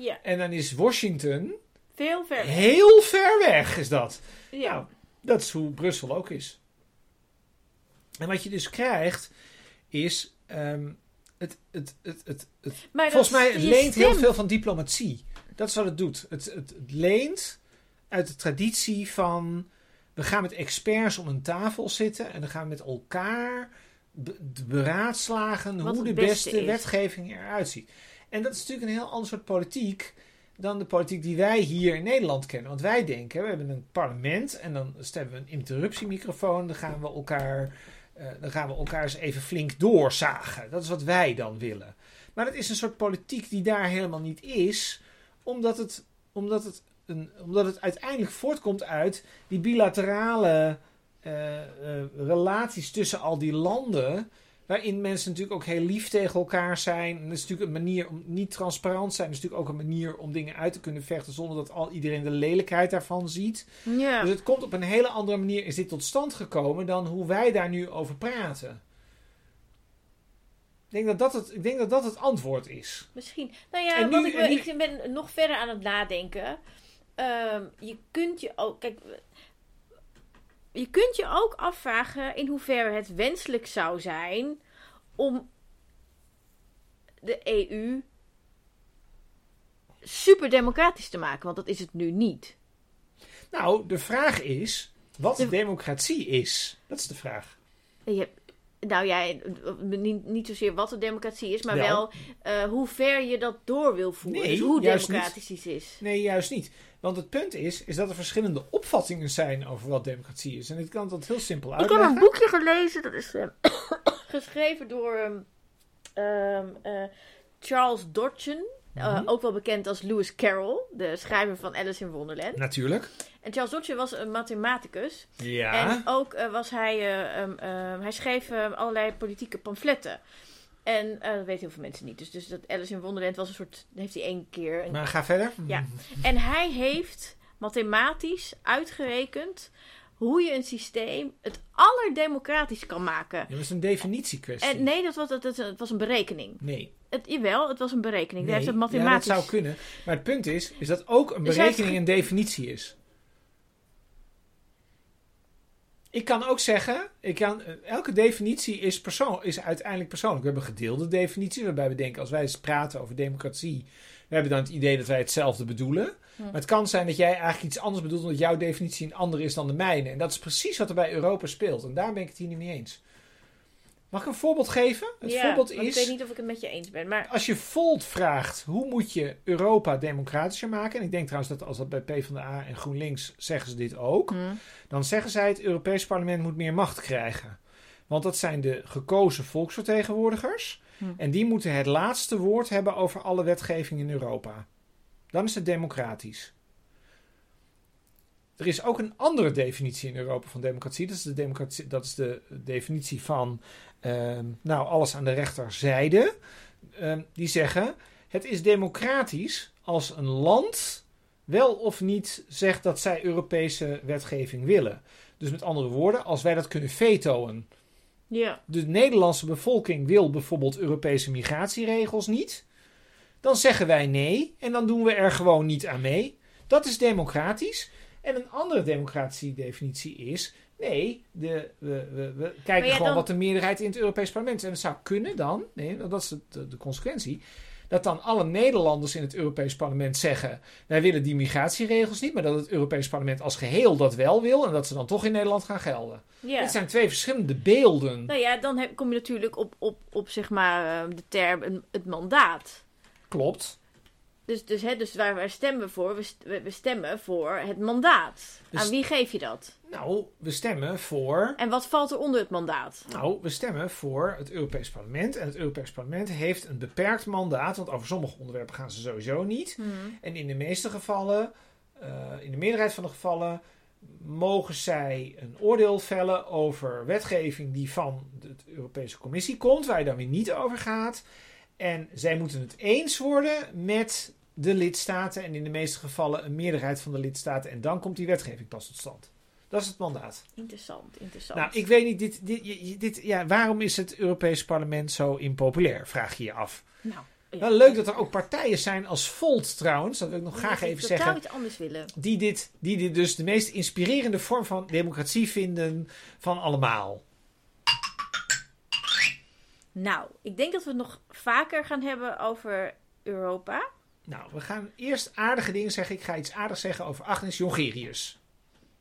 S1: Ja,
S2: En dan is Washington
S1: veel verder.
S2: heel ver weg, is dat.
S1: Ja.
S2: Nou, dat is hoe Brussel ook is. En wat je dus krijgt, is. ehm, het, het, het, het, het,
S1: maar
S2: volgens
S1: dat-
S2: mij het
S1: je
S2: leent heel
S1: stemt-
S2: veel van diplomatie. Dat is wat het doet. Het, het, het leent uit de traditie van. We gaan met experts om een tafel zitten en dan gaan we met elkaar be- beraadslagen
S1: Wat
S2: hoe de
S1: het
S2: beste,
S1: beste is.
S2: wetgeving eruit ziet. En dat is natuurlijk een heel ander soort politiek dan de politiek die wij hier in Nederland kennen. Want wij denken, we hebben een parlement en dan stemmen we een interruptiemicrofoon. Dan gaan we elkaar, eh, dan gaan we elkaar eens even flink doorzagen. Dat is wat wij dan willen. Maar het is een soort politiek die daar helemaal niet is, omdat het, omdat het, een, omdat het uiteindelijk voortkomt uit die bilaterale eh, eh, relaties tussen al die landen. Waarin mensen natuurlijk ook heel lief tegen elkaar zijn. En dat is natuurlijk een manier om niet transparant te zijn. Dat is natuurlijk ook een manier om dingen uit te kunnen vechten zonder dat al iedereen de lelijkheid daarvan ziet.
S1: Ja.
S2: Dus het komt op een hele andere manier is dit tot stand gekomen dan hoe wij daar nu over praten. Ik denk dat dat het, ik denk dat dat het antwoord is.
S1: Misschien. Nou ja,
S2: En nu-
S1: wat ik,
S2: en nu-
S1: ik ben nog verder aan het nadenken. Ehm, je kunt je ook. Kijk. Je kunt je ook afvragen in hoeverre het wenselijk zou zijn om de E EU super democratisch te maken. Want dat is het nu niet.
S2: Nou, de vraag is wat
S1: De-
S2: democratie is. Dat is de vraag.
S1: En Je hebt, nou ja, niet, niet zozeer wat de democratie is, maar
S2: Wel.
S1: wel, eh, hoe ver je dat door wil voeren.
S2: Nee,
S1: dus hoe
S2: juist niet.
S1: democratisch iets is.
S2: Nee, juist niet. Want het punt is, is dat er verschillende opvattingen zijn over wat democratie is. En ik kan dat heel simpel
S1: Ik heb
S2: uitleggen.
S1: een boekje gelezen, dat is ehm, (coughs) geschreven door ehm, ehm, eh, Charles Dodson. eh,
S2: Mhm.
S1: Ook wel bekend als Lewis Carroll, de schrijver van Alice in Wonderland.
S2: Natuurlijk.
S1: En Charles Dodson was een mathematicus.
S2: Ja.
S1: En ook eh, was hij, eh, ehm, ehm, hij schreef ehm, allerlei politieke pamfletten. En eh, dat weten heel veel mensen niet. Dus, dus dat Alice in Wonderland was een soort, heeft hij één keer een
S2: Maar ga verder.
S1: Ja.
S2: (laughs)
S1: en hij heeft mathematisch uitgerekend hoe je een systeem het allerdemocratisch kan maken.
S2: Ja, Dat is een definitiekwestie.
S1: En nee, dat was, dat, dat- dat was een berekening.
S2: Nee.
S1: Het, jawel, het was een berekening. Hij
S2: nee.
S1: heeft het
S2: Ja,
S1: mathematisch.
S2: dat zou kunnen. Maar het punt is, is dat ook een
S1: Dus hij heeft
S2: berekening
S1: ge-
S2: een definitie is. Ik kan ook zeggen, ik kan, eh, elke definitie is, persoon, is uiteindelijk persoonlijk. We hebben gedeelde definities, waarbij we denken, als wij eens praten over democratie, we hebben dan het idee dat wij hetzelfde bedoelen.
S1: Hm.
S2: Maar het kan zijn dat jij eigenlijk iets anders bedoelt, omdat jouw definitie een andere is dan de mijne. En dat is precies wat er bij Europa speelt. En daar ben ik het hier niet mee eens. Mag ik een voorbeeld geven? Het
S1: Ja,
S2: voorbeeld
S1: want
S2: is.
S1: Ik weet niet of ik het met je eens ben, maar
S2: Als je Volt vraagt hoe moet je Europa democratischer maken, en ik denk trouwens dat als dat bij PvdA en GroenLinks zeggen ze dit ook, dan zeggen zij het Europees parlement moet meer macht krijgen. Want dat zijn de gekozen volksvertegenwoordigers
S1: Hm.
S2: en die moeten het laatste woord hebben over alle wetgeving in Europa. Dan is het democratisch. Er is ook een andere definitie in Europa van democratie. Dat is de, democratie, dat is de definitie van ehm, nou, alles aan de rechterzijde. Ehm, die zeggen: het is democratisch als een land wel of niet zegt dat zij Europese wetgeving willen. Dus met andere woorden, als wij dat kunnen vetoen.
S1: ja.
S2: De Nederlandse bevolking wil bijvoorbeeld Europese migratieregels niet. Dan zeggen wij nee en dan doen we er gewoon niet aan mee. Dat is democratisch. En een andere democratiedefinitie is: nee, de, we, we, we kijken
S1: ja,
S2: gewoon
S1: dan-
S2: wat de meerderheid in het Europees parlement is. En het zou kunnen dan, nee, want dat is de, de consequentie, dat dan alle Nederlanders in het Europees parlement zeggen: wij willen die migratieregels niet, maar dat het Europees parlement als geheel dat wel wil en dat ze dan toch in Nederland gaan gelden.
S1: ja.
S2: Dit zijn twee verschillende beelden.
S1: Nou ja, dan heb, kom je natuurlijk op, op, op zeg maar, eh, de term een- het mandaat.
S2: Klopt.
S1: Dus, dus, hè, dus waar, waar stemmen we voor? We, st- we- we stemmen voor het mandaat.
S2: Dus-
S1: Aan wie geef je dat?
S2: Nou, we stemmen voor.
S1: En wat valt er onder het mandaat?
S2: Nou, we stemmen voor het Europees Parlement. En het Europees Parlement heeft een beperkt mandaat. Want over sommige onderwerpen gaan ze sowieso niet. En in de meeste gevallen, eh, in de meerderheid van de gevallen, mogen zij een oordeel vellen over wetgeving die van de Europese Commissie komt, waar je dan weer niet over gaat. En zij moeten het eens worden met de lidstaten. En in de meeste gevallen een meerderheid van de lidstaten. En dan komt die wetgeving pas tot stand. Dat is het mandaat.
S1: Interessant, interessant.
S2: Nou, ik weet niet, dit, dit, je- je- dit, ja, waarom is het Europese parlement zo impopulair, vraag je je af.
S1: Nou, Ja.
S2: Wel leuk dat er ook partijen zijn als Volt trouwens, dat wil ik nog graag
S1: Die
S2: even
S1: totaal
S2: zeggen.
S1: iets anders willen.
S2: Die dit, die dit dus de meest inspirerende vorm van democratie vinden van allemaal.
S1: Nou, ik denk dat we het nog vaker gaan hebben over Europa.
S2: Nou, we gaan eerst aardige dingen zeggen. Ik ga iets aardigs zeggen over Agnes Jongerius.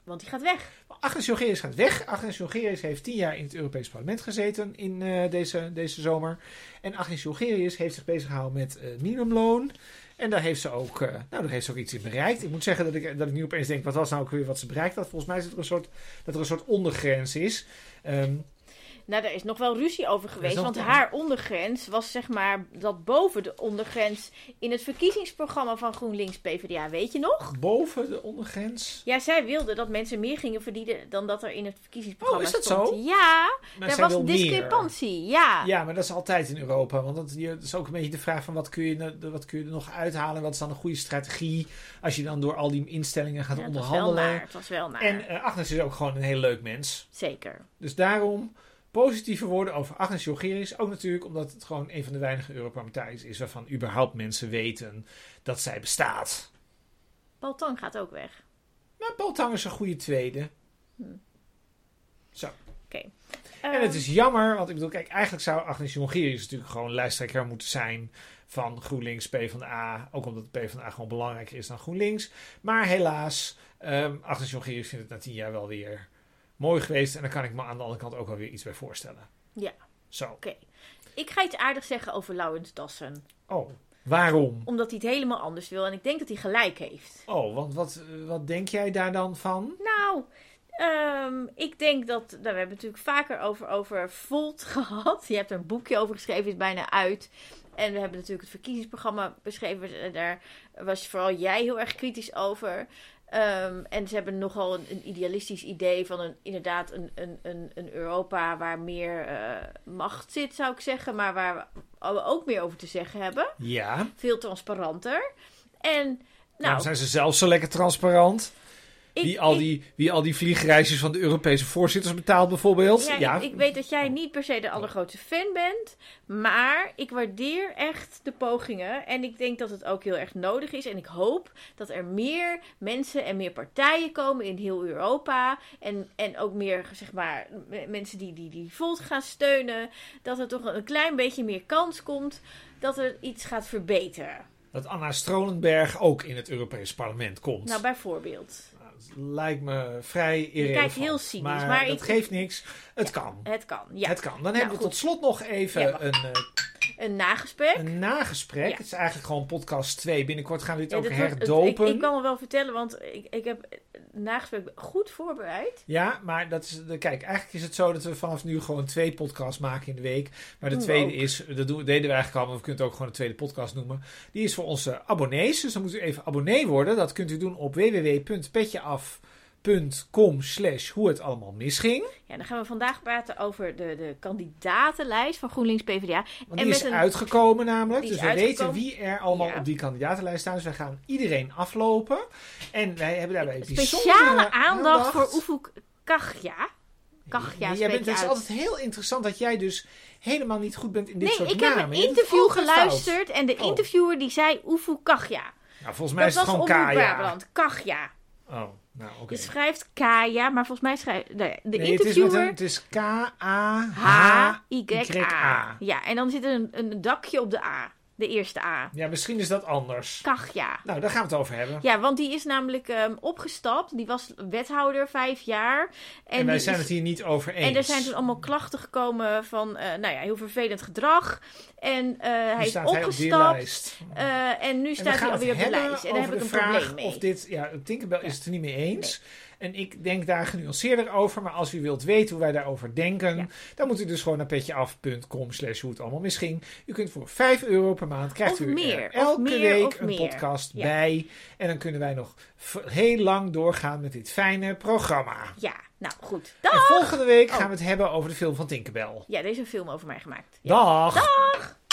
S1: Want die gaat weg.
S2: Agnes Jongerius gaat weg. Agnes Jongerius heeft tien jaar in het Europees Parlement gezeten in eh, deze, deze zomer. En Agnes Jongerius heeft zich bezig gehouden met eh, minimumloon. En daar heeft, ze ook, eh, nou, daar heeft ze ook iets in bereikt. Ik moet zeggen dat ik, dat ik nu opeens denk, wat was nou ook weer wat ze bereikt had? Volgens mij is het er een soort, dat er een soort ondergrens is. Ehm,
S1: Nou, daar is nog wel ruzie over geweest.
S2: nog
S1: Want
S2: wel-
S1: haar ondergrens was zeg maar dat boven de ondergrens in het verkiezingsprogramma van GroenLinks PvdA. Weet je nog?
S2: boven de ondergrens.
S1: Ja, zij wilde dat mensen meer gingen verdienen dan dat er in het verkiezingsprogramma
S2: Oh, is dat
S1: stond.
S2: zo?
S1: Ja,
S2: Maar
S1: daar
S2: zij
S1: was
S2: wil
S1: een
S2: meer.
S1: discrepantie. Ja.
S2: Ja, maar dat is altijd in Europa. Want dat, je- dat is ook een beetje de vraag van wat kun, je, nou- wat kun je er nog uithalen? Wat is dan een goede strategie als je dan door al die instellingen gaat
S1: Ja, het was wel
S2: onderhandelen?
S1: naar. Het was wel naar.
S2: En eh, Agnes is ook gewoon een heel leuk mens.
S1: Zeker.
S2: Dus daarom positieve woorden over Agnes Jongerius. Ook natuurlijk omdat het gewoon een van de weinige Europarlementariërs is waarvan überhaupt mensen weten dat zij bestaat.
S1: Paul Tang gaat ook weg.
S2: Maar Paul Tang is een goede tweede. En het
S1: Ehm,
S2: is jammer, want ik bedoel, kijk, eigenlijk zou Agnes Jongerius natuurlijk gewoon lijsttrekker moeten zijn van GroenLinks, PvdA. Ook omdat PvdA gewoon belangrijker is dan GroenLinks. Maar helaas, ehm Agnes Jongerius vindt het na tien jaar wel weer mooi geweest. En daar kan ik me aan de andere kant ook wel weer iets bij voorstellen.
S1: Ja.
S2: Zo.
S1: Ik ga iets aardigs zeggen over Laurens Dassen.
S2: Oh, waarom?
S1: Omdat hij het helemaal anders wil. En ik denk dat hij gelijk heeft.
S2: Oh, want wat, wat denk jij daar dan van?
S1: Nou, ehm, ik denk dat... Nou, we hebben het natuurlijk vaker over, over Volt (laughs) gehad. Je hebt er een boekje over geschreven. Is bijna uit. En we hebben natuurlijk het verkiezingsprogramma beschreven. En daar was vooral jij heel erg kritisch over. Ehm, en ze hebben nogal een, een idealistisch idee van een, inderdaad een, een, een, een Europa waar meer eh, macht zit, zou ik zeggen. Maar waar we ook meer over te zeggen hebben.
S2: Ja,
S1: veel transparanter. En
S2: daarom
S1: nou,
S2: zijn ze zelf zo lekker transparant.
S1: ik,
S2: wie, al
S1: ik-
S2: die, wie al die vliegreisjes van de Europese voorzitters betaalt bijvoorbeeld.
S1: ja,
S2: Ja,
S1: Ik, ik weet dat jij niet per se de allergrootste fan bent, maar ik waardeer echt de pogingen en ik denk dat het ook heel erg nodig is en ik hoop dat er meer mensen en meer partijen komen in heel Europa en, en ook meer zeg maar m- mensen die, die die Volt gaan steunen, dat er toch een klein beetje meer kans komt dat er iets gaat verbeteren.
S2: dat Anna Stronenberg ook in het Europees parlement komt.
S1: Nou, bijvoorbeeld.
S2: Nou, het lijkt me vrij irrelevant.
S1: kijkt heel cynisch,
S2: maar,
S1: maar
S2: dat
S1: ik-
S2: geeft niks. Het kan.
S1: Het kan, ja.
S2: Het kan. Dan
S1: Nou,
S2: hebben we
S1: goed.
S2: tot slot nog even
S1: Ja, wacht.
S2: een, eh,
S1: Een nagesprek.
S2: een nagesprek.
S1: Ja.
S2: Het is eigenlijk gewoon podcast 2. Binnenkort gaan we dit
S1: Ja,
S2: ook
S1: dat wordt-
S2: herdopen.
S1: het- ik, ik kan het wel vertellen, want ik, ik heb eh, het nagesprek goed voorbereid.
S2: Ja, maar dat is, de- kijk, eigenlijk is het zo dat we vanaf nu gewoon twee podcasts maken in de week. Maar de
S1: Doen we
S2: tweede
S1: Mm, ook.
S2: is, dat doen, deden we eigenlijk al, maar we kunnen het ook gewoon een tweede podcast noemen. Die is voor onze abonnees, dus dan moet u even abonnee worden. Dat kunt u doen op www.petjeaf.com slash hoe het allemaal misging.
S1: Ja, dan gaan we vandaag praten over de, de kandidatenlijst van GroenLinks PvdA.
S2: Want
S1: En
S2: die
S1: met
S2: is
S1: een-
S2: uitgekomen namelijk.
S1: die is
S2: Dus we weten
S1: uitgekomen.
S2: wie er allemaal
S1: Ja.
S2: op die kandidatenlijst staan. Dus wij gaan iedereen aflopen. En wij hebben daarbij
S1: Speciale aandacht voor Oefu Kachja. Kachja
S2: jij bent,
S1: spreek je
S2: Het is
S1: uit.
S2: altijd heel interessant dat jij dus helemaal niet goed bent in dit
S1: nee,
S2: soort
S1: ik
S2: namen.
S1: heb een
S2: Je doet het
S1: interview
S2: altijd fout.
S1: geluisterd en de
S2: Oh.
S1: interviewer die zei Oefu Kachja.
S2: Nou, volgens mij
S1: Dat
S2: is het
S1: was
S2: gewoon
S1: Omroep
S2: Kaya.
S1: Brabant. Kachja.
S2: Oh, nou oké.
S1: Je schrijft Kaya, maar volgens mij schrijft... Nee, de
S2: Nee, het is, met een,
S1: interviewer...
S2: het is K-A-H.
S1: H-Y-A. Ja, en dan zit er een, een dakje op de A. De eerste A.
S2: Ja, misschien is dat anders.
S1: Kachja.
S2: Nou, daar gaan we het over hebben.
S1: Ja, want die is namelijk ehm, opgestapt. Die was wethouder vijf jaar.
S2: En,
S1: die
S2: wij
S1: is-
S2: zijn het hier niet over eens.
S1: en er zijn toen allemaal klachten gekomen van eh, nou ja, heel vervelend gedrag. En eh, hij
S2: Nu
S1: is
S2: staat hij op die
S1: opgestapt.
S2: lijst.
S1: eh, en nu
S2: En
S1: staat
S2: we
S1: hij
S2: gaan
S1: alweer op
S2: het
S1: de
S2: hebben
S1: lijst. En daar heb
S2: over
S1: ik een
S2: de vraag
S1: probleem mee.
S2: Of dit, ja, Tinkerbell is het er niet mee eens. En ik denk daar genuanceerder over. Maar als u wilt weten hoe wij daarover denken,
S1: Ja.
S2: dan moet u dus gewoon naar petjeaf.com slash hoe het allemaal misging. U kunt voor 5 euro per maand krijgt
S1: Of
S2: u er
S1: meer, of
S2: elke
S1: meer,
S2: week
S1: of
S2: een
S1: meer.
S2: podcast
S1: Ja.
S2: bij. En dan kunnen wij nog v- heel lang doorgaan met dit fijne programma.
S1: Ja, nou goed. Dag!
S2: En volgende week
S1: Oh.
S2: gaan we het hebben over de film van Tinkerbell.
S1: Ja, er is een film over mij gemaakt. Ja.
S2: Dag!
S1: Dag!